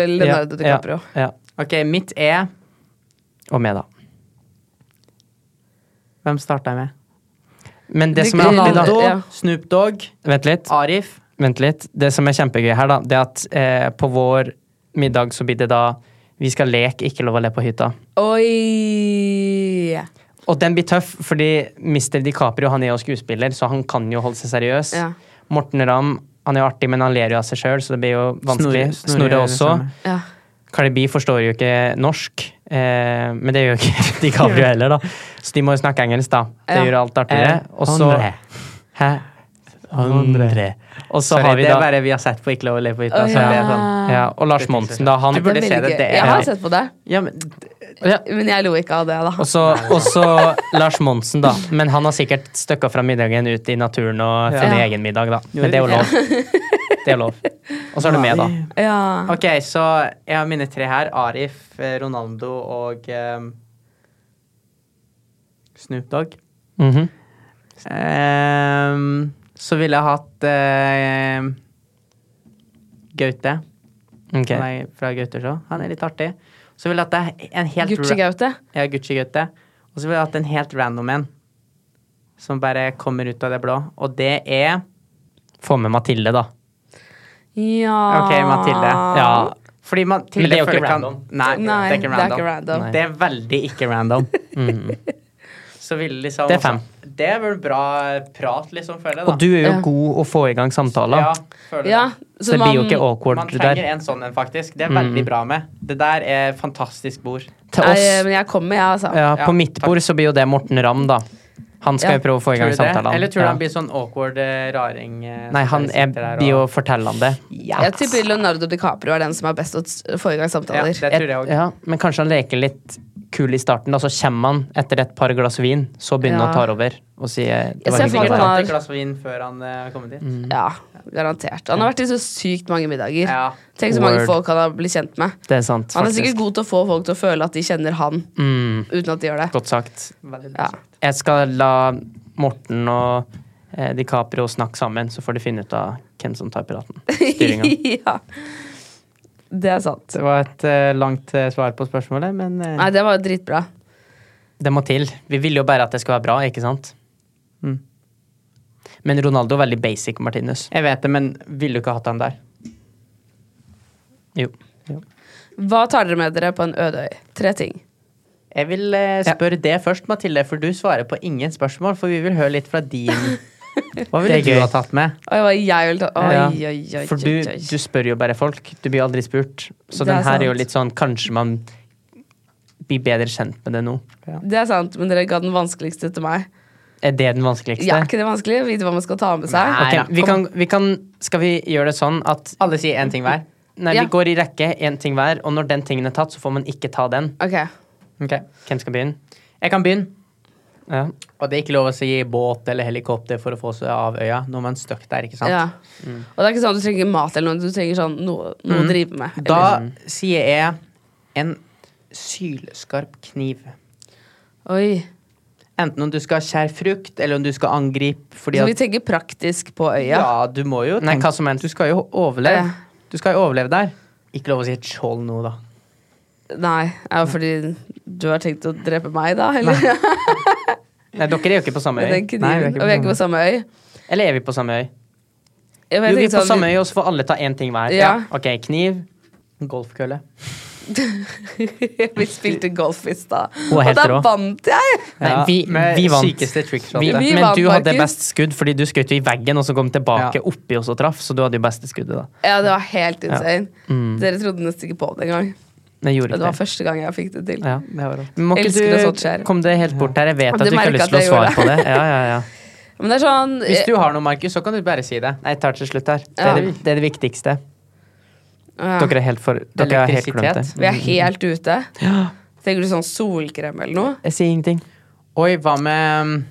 Leonardo ja, ja, DiCaprio. ja. Ok, mitt E. er Og meg, da. Hvem starta jeg med? Men det Du- som er artig, da Ronaldo, Ja. Snoop Dogg, Vent litt. Arif. Vent litt. Det som er kjempegøy her, da, det er at eh, på vår middag så blir det da Vi skal leke Ikke lov å le på hytta. Oi! Og den blir tøff, fordi Mr. DiCaprio han er jo skuespiller, så han kan jo holde seg seriøs. Ja. Morten Ramm han er jo artig, men han ler jo av seg sjøl, så det blir jo Snorre- vanskelig. Snorre Snorre er det også. samme. Ja. Cardi B forstår jo ikke norsk, eh, men det gjør jo ikke <laughs> DiCaprio heller, da. Så de må jo snakke engelsk, da. Det Ja. gjør alt artigere. Eh, Og så Andre. Hæ? Andre. Og så Sorry, har vi det er da bare vi har sett på Ikke lov å le på hytta. Å, så det er ja. sånn. ja, Og Lars Det fikser seg. Monsen, da. Han Du burde er se veldig det, gøy. det er- Jeg har sett på det, Ja, men men jeg lo ikke av det, da. Og så og så Lars Monsen, da. Men han har sikkert støkka fra middagen ut i naturen og funnet Ja. egen middag, da. Men det er jo lov. <laughs> Det er lov. Og så er du med, da. Ja. Ok, så jeg har mine tre her. Arif, eh, Ronaldo og ehm, Snoop Dogg. Mhm. Ehm, så ville jeg hatt ehm, Gaute. Ok. Han er fra Gauteshow. Han er litt artig. Så ville jeg hatt en helt ra- Gucci Gaute. Ja, Gucci Gaute. Og så ville jeg hatt en helt random en som bare kommer ut av det blå, og det er Få med Mathilde, da. Ja OK, Mathilde. Ja. Fordi Mathilde Men det er jo føler ikke kan- random. Nei, Nei, det er ikke random. random. Det er veldig ikke <laughs> random. Så ville liksom Mm. Det er fem. Det er vel bra prat, liksom, føler jeg. da. Og du er jo Ja. god å få i gang samtaler. Ja, føler Ja, det. Så det man- blir jo ikke Man awkward trenger der. Mm. en sånn en, faktisk. Det er veldig bra med. Det der er fantastisk bord. Til Nei, oss, men jeg kommer, jeg, altså. ja, Ja, på mitt bord, så blir jo det Morten Ramm, da. Han skal Ja. jo prøve å få i gang Tror du det? samtalene. Eller tror du Ja. han blir sånn awkward eh, raring? eh, Nei, som han bare er, sitter der blir jo og- fortellende. Jeg tipper Leonardo DiCaprio er den som er best til å s- få i gang ja, samtaler. det tror jeg Et- òg. Ja, men kanskje han leker litt kul i starten, da, så kommer han etter et par glass vin, så begynner Ja. han å ta over og sier Jeg det var ser hyggelig for å meg være at her. Tatt et glass vin før han eh, kom dit. Ja, garantert. Han har vært i så sykt mange middager. Ja. Tenk så mange Word. folk han har blitt kjent med. Det er sant, Han er faktisk. sikkert god til å få folk til å føle at de kjenner han, uten at de gjør det. Godt sagt. Veldig bra Ja. sagt. Jeg skal la Morten og <laughs> eh, DiCaprio snakke sammen, så får de finne ut av hvem som tar piraten. Styringa. ja. Det er sant. Det var et eh, langt eh, svar på spørsmålet, men eh, Nei, det var dritbra. Det må til. Vi ville jo bare at det skulle være bra, ikke sant? Mm. Men Ronaldo er veldig basic Martinez. Jeg vet det, men ville du ikke hatt han der? Jo. Hva tar dere med dere på en øde øy? Tre ting. Jeg vil eh, spørre det først, Mathilde, for du svarer på ingen spørsmål. For vi vil høre litt fra <laughs> din Hva ville Det er du gøy. ha tatt med? Oi, hva jeg vil ta Oi, Ja. oi, oi, For oi, du, oi. du spør jo bare folk. Du blir aldri spurt. Så Det er den her er jo sant. litt sånn Kanskje man blir bedre kjent med det nå. Det er sant, men dere ga den vanskeligste til meg. Er det den vanskeligste? Ja, er ikke det vanskelig? Vite hva man skal ta med seg? Nei, Ok, da, vi kom. kan, vi kan, skal vi gjøre det sånn at Alle sier én ting hver. Nei, Ja. vi går i rekke, én ting hver, og når den tingen er tatt, så får man ikke ta den. Ok, Ok, Hvem skal begynne? Jeg kan begynne. Ja. Og det er ikke lov å si båt eller helikopter for å få seg av øya når man er stuck der. ikke sant? Mm. ja. Og det er ikke sånn at du trenger mat eller noe, du trenger sånn noe, noe å drive med. Da Eller- sånn. sier jeg en sylskarp kniv. Oi. Enten om du skal skjære frukt, eller om du skal angripe fordi Så vi at tenker praktisk på ja. øya. du må jo Nei, tenke- hva som helst. Du skal jo overleve. Ja. Du skal jo overleve der. Ikke lov å si et skjold nå, da. Eh, Nei, er det fordi du har tenkt å drepe meg da, <laughs> eller? Nei, dere er jo ikke på samme Med øy. den Nei, vi er kniven. ikke Og vi er ikke på samme øy. Eller er vi på samme øy? Jo, Jo, vi er på samme øy, og så får alle ta én ting hver. liksom- Ja. Ok, kniv. Golfkølle. <laughs> Vi spilte golf i stad, Og og, helt da rå. vant jeg! Nei, vi, med vi vant. sykeste trickshot. Vi, Vi men vant, du hadde Markus. best skudd, fordi du skjøt jo i veggen og så kom tilbake Ja. oppi og så traff. Så du hadde jo beste skuddet, da. Ja, det var helt insane. Dere trodde nesten ikke på det engang. Men jeg gjorde Det var ikke det. første gang jeg fikk det til. Ja. Det var rått. Men Må Elsker når sånt ikke skjer. du kom det helt bort her? Jeg vet Ja, at det du ikke har merker lyst at til å jeg svare gjorde på det. Ja, ja, <laughs> ja. Men det er sånn Hvis du har noe, Markus, så kan du bare si det. Nei, jeg tar til slutt her. Det Ja. er det, det, er det viktigste. ja, Dere er helt for Dere har helt glemt det. Elektrisitet. Vi er helt ute. Trenger du sånn solkrem eller noe? Jeg sier ingenting. Oi, hva med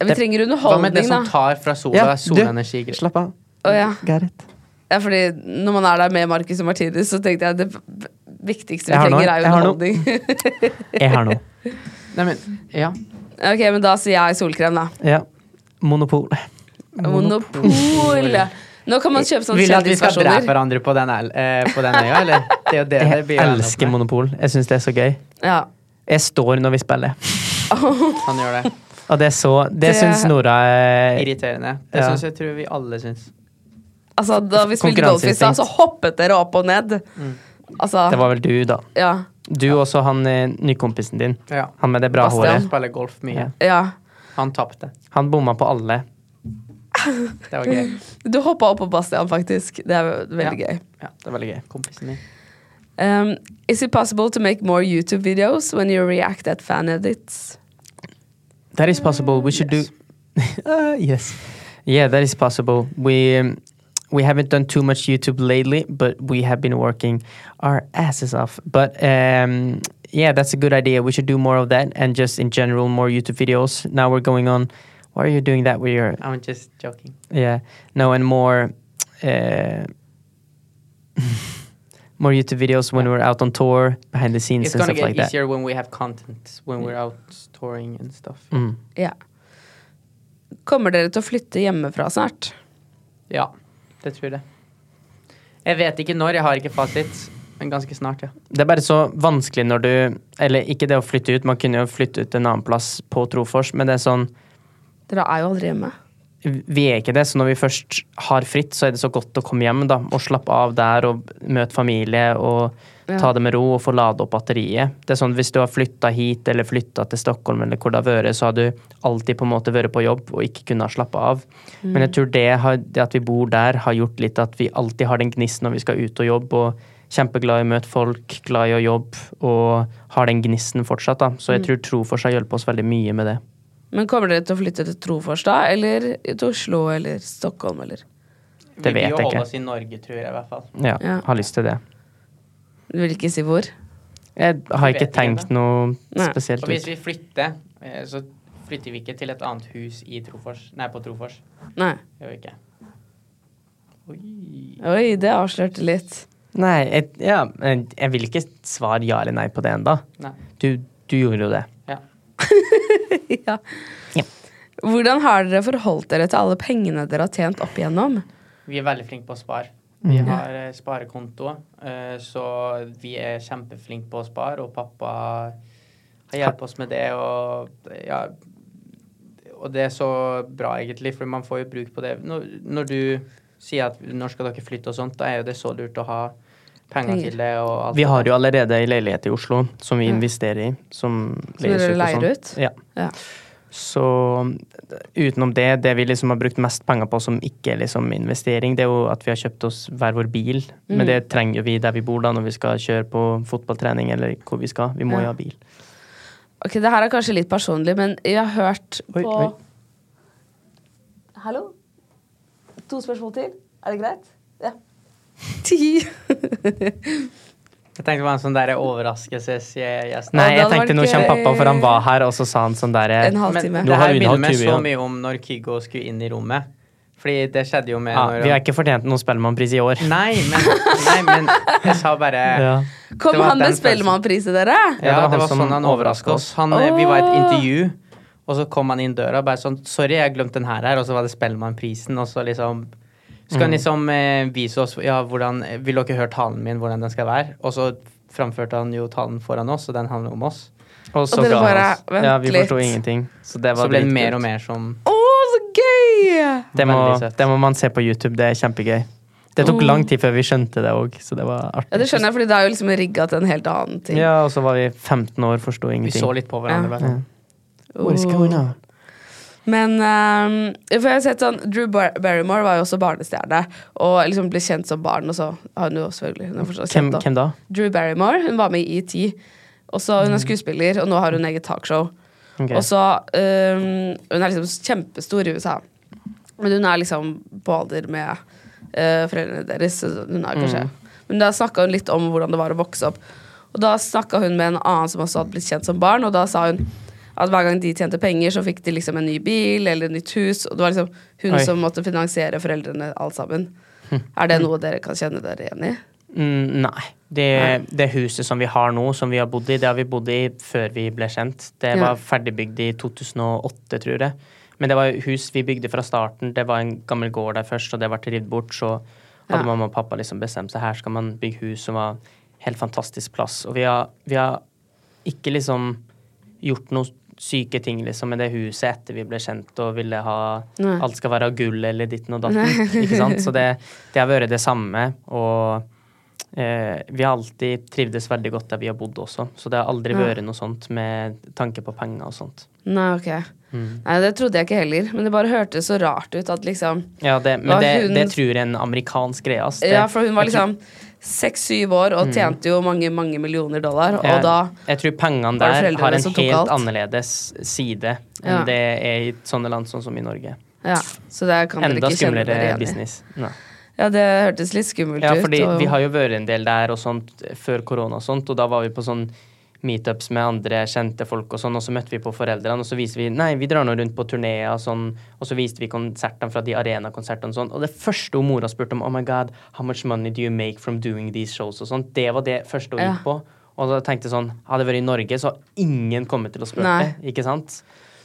Vi Det- trenger Hva med det underholdning, som da. tar fra sola? Ja, du. Solenergi. Slapp av. Å, ja. Gareth. Ja, fordi når man er der med Marcus og Martinus, så tenkte jeg det v- viktigste vi Jeg har noe. trenger, er Jeg har noe. underholdning. <laughs> Jeg har noe. Nei, men, ja. ok, men da sier jeg solkrem, da. Ja. Monopol. Monopol! Nå kan man kjøpe sånne Vil du at vi skal drepe Sånn kjendisversjoner. hverandre på den, el- eh, på den øya, eller? Det er jo det det <laughs> Jeg blir å ende opp elsker med. Monopol. Jeg syns det er så gøy. Ja. Jeg står når vi spiller. Han gjør det. <laughs> Og det er så Det Det- syns Nora eh, er Irriterende. Det Ja. syns jeg tror vi alle syns. Altså, da vi spilte golf i stad, så hoppet dere opp og ned. Altså, Mm. Det var vel du, da. ja. Du og så han eh, nykompisen din. Ja. Han med det bra Bastian håret. spiller golf mye. Ja. ja. Han tapte. Han bomma på alle. Det var gøy. Du hoppa opp på Bastian, faktisk. Det er veldig gøy. Ja, er det var veldig gøy. Kompisen min. Um, is it possible to make more YouTube videos when you react at fan edits? That is possible. We should yes. <laughs> do. Uh, yes. Yeah, that is possible. We um, we haven't done too much YouTube lately, but we have been working our asses off. But um, yeah, that's a good idea. We should do more of that, and just in general, more YouTube videos. Now we're going on. Why are you doing that with your? I'm just joking. Yeah. No, and more. Uh, <laughs> more YouTube videos when we're out on tour, behind the scenes It's and gonna stuff get like that. easier when we have content, when we're out touring and stuff. Mm. Ja. Kommer dere til å flytte hjemmefra snart? Ja, det tror jeg. Jeg vet ikke når, jeg har ikke fasit. Men ganske snart, ja. Det er bare så vanskelig når du Eller ikke det å flytte ut, man kunne jo flytte ut en annen plass på Trofors, men det er sånn Dere er jo aldri hjemme. Vi er ikke det, så når vi først har fritt, så er det så godt å komme hjem da, og slappe av der og møte familie og ta det med ro og få lade opp batteriet. Det er sånn Hvis du har flytta hit eller flytta til Stockholm eller hvor det har vært, så har du alltid på en måte vært på jobb og ikke kunnet slappe av. Men jeg tror det, har, det at vi bor der, har gjort litt at vi alltid har den gnisten når vi skal ut og jobbe. og Kjempeglad i å møte folk, glad i å jobbe og har den gnisten fortsatt. da. Så jeg tror Trofors har hjulpet oss veldig mye med det. Men kommer dere til å flytte til Trofors da, eller til Oslo eller Stockholm eller Vi Det vil vet jo jeg holde ikke. oss i Norge, tror jeg i hvert fall. Ja, Ja. Har lyst til det. Du vil ikke si hvor? Jeg har vet ikke ikke tenkt noe Nei. spesielt Og hvis ut. vi flytter, eh, så flytter vi ikke til et annet hus i Trofors. Nei, på Trofors. Nei. Gjør vi ikke. Oi. Oi, det avslørte litt. Nei, jeg, ja, men jeg vil ikke svare ja eller nei på det ennå. Nei. Du, du gjorde jo det. Ja. <laughs> ja. Ja. Hvordan har dere forholdt dere til alle pengene dere har tjent opp igjennom? Vi er veldig flinke på å spare. Mm. Vi har eh, sparekonto, eh, så vi er kjempeflinke på å spare, og pappa har hjulpet oss med det. Og, eh, ja, og det er så bra, egentlig, for man får jo bruk på det. Når, når du sier at når skal dere flytte og sånt, da er jo det så lurt å ha penger Penger. til det. og alt Vi det har der. jo allerede ei leilighet i Oslo som vi Ja. investerer i. Som dere leies ut og leier sånn. ut? Ja. Ja. Så utenom det, det vi liksom har brukt mest penger på som ikke er liksom investering, det er jo at vi har kjøpt oss hver vår bil. Men Mm. det trenger jo vi der vi bor da, når vi skal kjøre på fotballtrening eller hvor vi skal. Vi må Ja. jo ha bil. Ok, det her er kanskje litt personlig, men jeg har hørt Oi, på oi. Hallo? To spørsmål til? Er det greit? Ja. <laughs> Ti. Jeg tenkte det var en sånn der overraskelsesgjest. Nei, jeg hadde vært tenkte nå kommer gøy. pappa, for han var her, og så sa han sånn derre En halv- halvtime. Men Nå det har her vi minner innholdt meg 20 så igjen. mye om når Kygo skulle inn i rommet. Fordi det skjedde jo med ja, når Ah, Vi har han- ikke fortjent noen Spellemannpris i år. Nei, men, nei, men jeg sa bare ja. Ja. Kom Det var han den med Spellemannpris til dere? Ja, det var det han var som sånn han overraska overrasket oss. Han, eh, Vi var i et Åh. intervju, og så kom han inn døra og bare sånn Sorry, jeg glemte den her, her, og så var det Spellemannprisen, og så liksom Skal Mm. han liksom eh, vise oss Ja, hvordan Vil dere høre talen min, hvordan den skal være? Og så framførte han jo talen foran oss, og den handler om oss. Og så dere ga han bare, oss. vent Ja, vi forsto litt. ingenting. Så det var Så ble det dritkult. mer og mer som Å, så gøy! Det må, Veldig søtt. det må man se på YouTube. Det er kjempegøy. Det tok lang tid før vi skjønte det òg, så det var artig. Ja, Det skjønner jeg, fordi det er jo liksom rigga til en helt annen ting. Ja, og så var vi 15 år, forsto Vi ingenting. så litt på hverandre. bare. What is going on? Men ehm, for jeg har sett sånn Drew Bar Barrymore var jo også barnestjerne, og liksom ble kjent som barn, og så har hun jo selvfølgelig hun er fortsatt kjent, Hvem, da. hvem da? Drew Barrymore. Hun var med i ET. Og så Hun er skuespiller, og nå har hun eget talkshow. Mm. Ok. Og så øhm, Hun er liksom kjempestor i USA, men hun er liksom på alder med øh, foreldrene deres. så Hun er Mm. kanskje Men da snakka hun litt om hvordan det var å vokse opp. Og da snakka hun med en annen som også hadde blitt kjent som barn, og da sa hun at hver gang de tjente penger, så fikk de liksom en ny bil eller et nytt hus. Og det var liksom hun Oi. Hm. som måtte finansiere foreldrene alt sammen. Er det noe dere kan kjenne dere igjen i? Mm, nei. Det, det huset som vi har nå, som vi har bodd i, det har vi bodd i før vi ble kjent. Det Ja. var ferdigbygd i 2008, tror jeg. Men det var hus vi bygde fra starten. Det var en gammel gård der først, og det ble revet bort. Så hadde Ja. mamma og pappa liksom bestemt seg her skal man bygge hus som var helt fantastisk plass. Og vi har, vi har ikke liksom gjort noen syke ting liksom med det huset etter vi ble kjent og ville ha Nei. alt skal være av gull eller ditten og datten. ikke sant? <laughs> Så det, det har vært det samme. Og Eh, vi har alltid trivdes veldig godt der vi har bodd også, så det har aldri vært noe sånt med tanke på penger og sånt. Nei, ok. Mm. Nei, det trodde jeg ikke heller. Men det bare hørtes så rart ut at liksom Ja, det, Ja, men det, hun- det tror jeg er en amerikansk greie, ass. Det- Mm. Ja, for hun var jeg tror- liksom seks-syv år og tjente jo mange, mange millioner dollar, og jeg, da Jeg tror pengene var det der foreldrene har en som tok helt alt. annerledes side enn Ja. det er i sånne land sånn som i Norge. Ja, så det kan dere Enda ikke kjenne dere skumlere igjen i. business. Nei. Ja, det hørtes litt skummelt Ja, ut. fordi og- vi har jo vært en del der og sånt før korona og sånt, og da var vi på sånn meetups med andre kjente folk og sånn, og så møtte vi på foreldrene, og så viste vi nei, vi drar nå rundt på turneer og sånn, og så viste vi konsertene fra de arenakonsertene og sånn, og det første hun mora spurte om, oh my god, how much money do you make from doing these shows og sånn, det var det første hun Ja. gikk på, og da tenkte jeg sånn, hadde jeg vært i Norge, så hadde ingen kommet til å spørre Nei. det, ikke sant?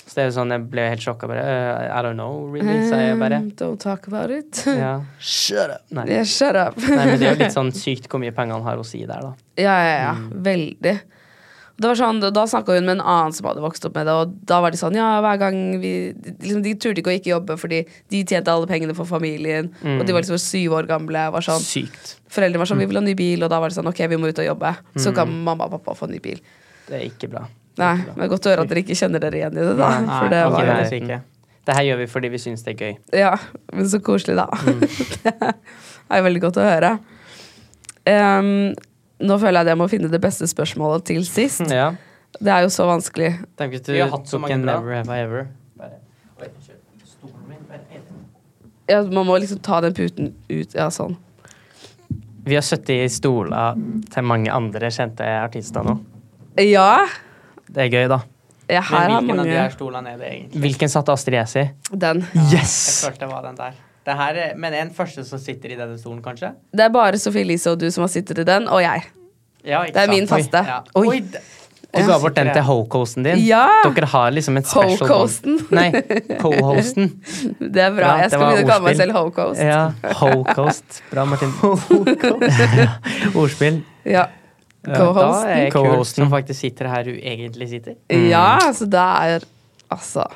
Så det er jo sånn, jeg ble helt sjokka bare, «Eh, I don't know, really, sa jeg bare. Um, Don't talk about it. Ja. Shut up! <laughs> Nei. Yeah, shut up. Nei, men det Mm. er jo litt sånn sykt hvor mye penger han har å si der, da. <laughs> Ja, ja, ja. Veldig. Det var sånn, da snakka hun med en annen som hadde vokst opp med det, og da var de sånn Ja, hver gang vi liksom, De turte ikke å ikke jobbe fordi de tjente alle pengene for familien, Mm. og de var liksom syv år gamle. og Var sånn, Sykt. Foreldrene var sånn Vi vil ha ny bil, og da var det sånn Ok, vi må ut og jobbe. Så kan mamma og pappa få ny bil. Det er ikke bra. Det Nei, er ikke bra. men det er godt å høre at dere ikke kjenner dere igjen i det, da. Nei, For det ok, var det jo er sykt, ja. Det her gjør vi fordi vi syns det er gøy. Ja, men så koselig, da. <laughs> det er jo veldig godt å høre. Em, nå føler jeg at jeg må finne det beste spørsmålet til sist. Ja. Det er jo så vanskelig. Tenk hvis du Vi har hatt så tok mange en bra. Never Have I Ever. Ja, man må liksom ta den puten ut. Ja, sånn. Vi har sittet i stoler til mange andre kjente artister nå. Ja, Det er gøy, da. ja her Men har hvilken av de mange her stolene er det egentlig? Hvilken satt Astrid S i? den. Jeg følte det var den der. Det her er, men er den første som sitter i denne stolen, kanskje? Det er bare Sophie Elise og du som har sittet i den, og jeg. Ja, Det er min faste. Ja. Oi. Oi. d- Og du har bort den til ho-coasten din. Ja! Dere har liksom et special bond. Ho-coasten. Nei, co-hosten. Det er bra. Ja, Jeg det skal var begynne å kalle meg ordspill. selv ho-coast. Ja, ho-coast. Bra, <laughs> Martin. Ordspill. Ja. Da er jeg Co-hosten. kult som faktisk sitter her du egentlig sitter. Ja, så det er Altså.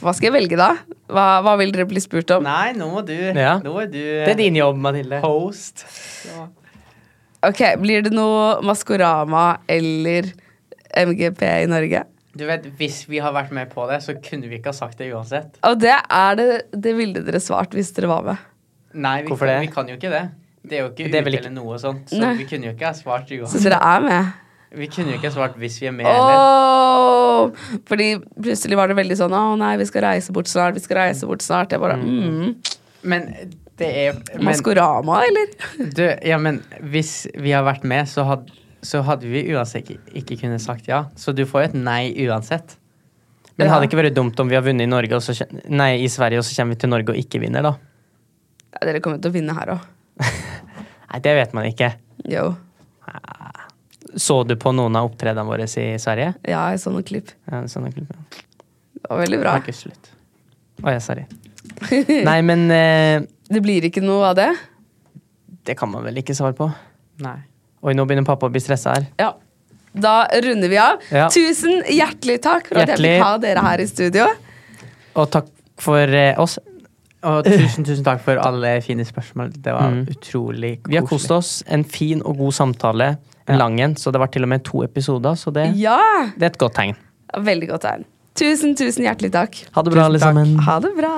Hva skal jeg velge, da? Hva, hva vil dere bli spurt om? Nei, nå må du Ja. Nå er du Det er din jobb, Mathilde. host. Ok, Blir det noe Maskorama eller MGP i Norge? Du vet, Hvis vi har vært med på det, så kunne vi ikke ha sagt det uansett. Og det er det det ville dere svart hvis dere var med. Nei, vi, Hvorfor det? vi kan jo ikke det. Det er jo ikke Det er vel uke ikke- eller noe sånt. Så Nei. vi kunne jo ikke ha svart <laughs> Så uansett. dere er med. Vi kunne jo ikke ha svart hvis vi er med heller. Åh! Fordi plutselig var det veldig sånn Å nei, vi skal reise bort snart, vi skal reise bort snart. Jeg bare mm. Men det er men, Maskorama, eller? du, ja, men hvis vi har vært med, så hadde, så hadde vi uansett ikke, ikke kunnet sagt ja. Så du får jo et nei uansett. Men Ja. hadde det ikke vært dumt om vi har vunnet i, Norge og så, kje- nei, i Sverige, og så kommer vi til Norge og ikke vinner, da? <laughs> Ja, dere kommer til å vinne her òg. Nei, det vet man ikke. Yo. Så du på noen av opptredenene våre i Sverige? Ja, jeg så noen klipp. Ja, sånn er klubben. Det var veldig bra. Det er ikke slutt. Å, ja, sorry. <laughs> Nei, men eh, Det blir ikke noe av det? det kan man vel ikke svare på. Nei. Oi, nå begynner pappa å bli stressa her. Ja. Da runder vi av. Ja. Tusen hjertelig takk for at jeg Hjertelig. fikk ha dere her i studio. Og takk for eh, oss. Og tusen, tusen takk for alle fine spørsmål. Det var Mm. utrolig koselig. Vi har kost oss. En fin og god samtale. En Ja. lang en. Så det var til og med to episoder, så det, Ja! det er et godt tegn. Veldig godt tegn. Tusen, tusen hjertelig takk. Ha det bra, alle sammen. Ha det bra.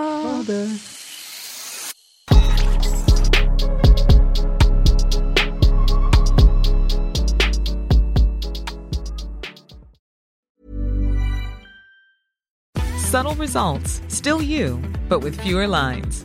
Subtle results, still you, but with fewer lines.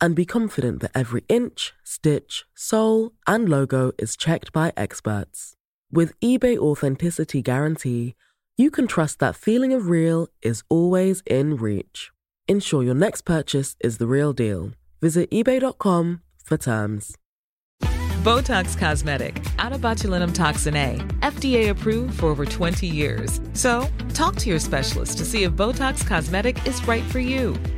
and be confident that every inch, stitch, sole, and logo is checked by experts. With eBay Authenticity Guarantee, you can trust that feeling of real is always in reach. Ensure your next purchase is the real deal. Visit eBay.com for terms. Botox Cosmetic, out of botulinum toxin A, FDA approved for over 20 years. So, talk to your specialist to see if Botox Cosmetic is right for you.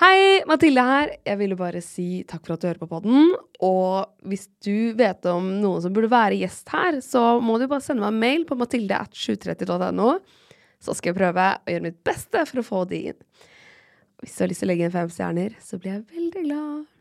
Hei, Mathilde her. Jeg ville bare si takk for at du hører på podden. Og hvis du vet om noen som burde være gjest her, så må du bare sende meg en mail på mathilde at 730.no. Så skal jeg prøve å gjøre mitt beste for å få de inn. Hvis du har lyst til å legge inn fem stjerner, så blir jeg veldig glad.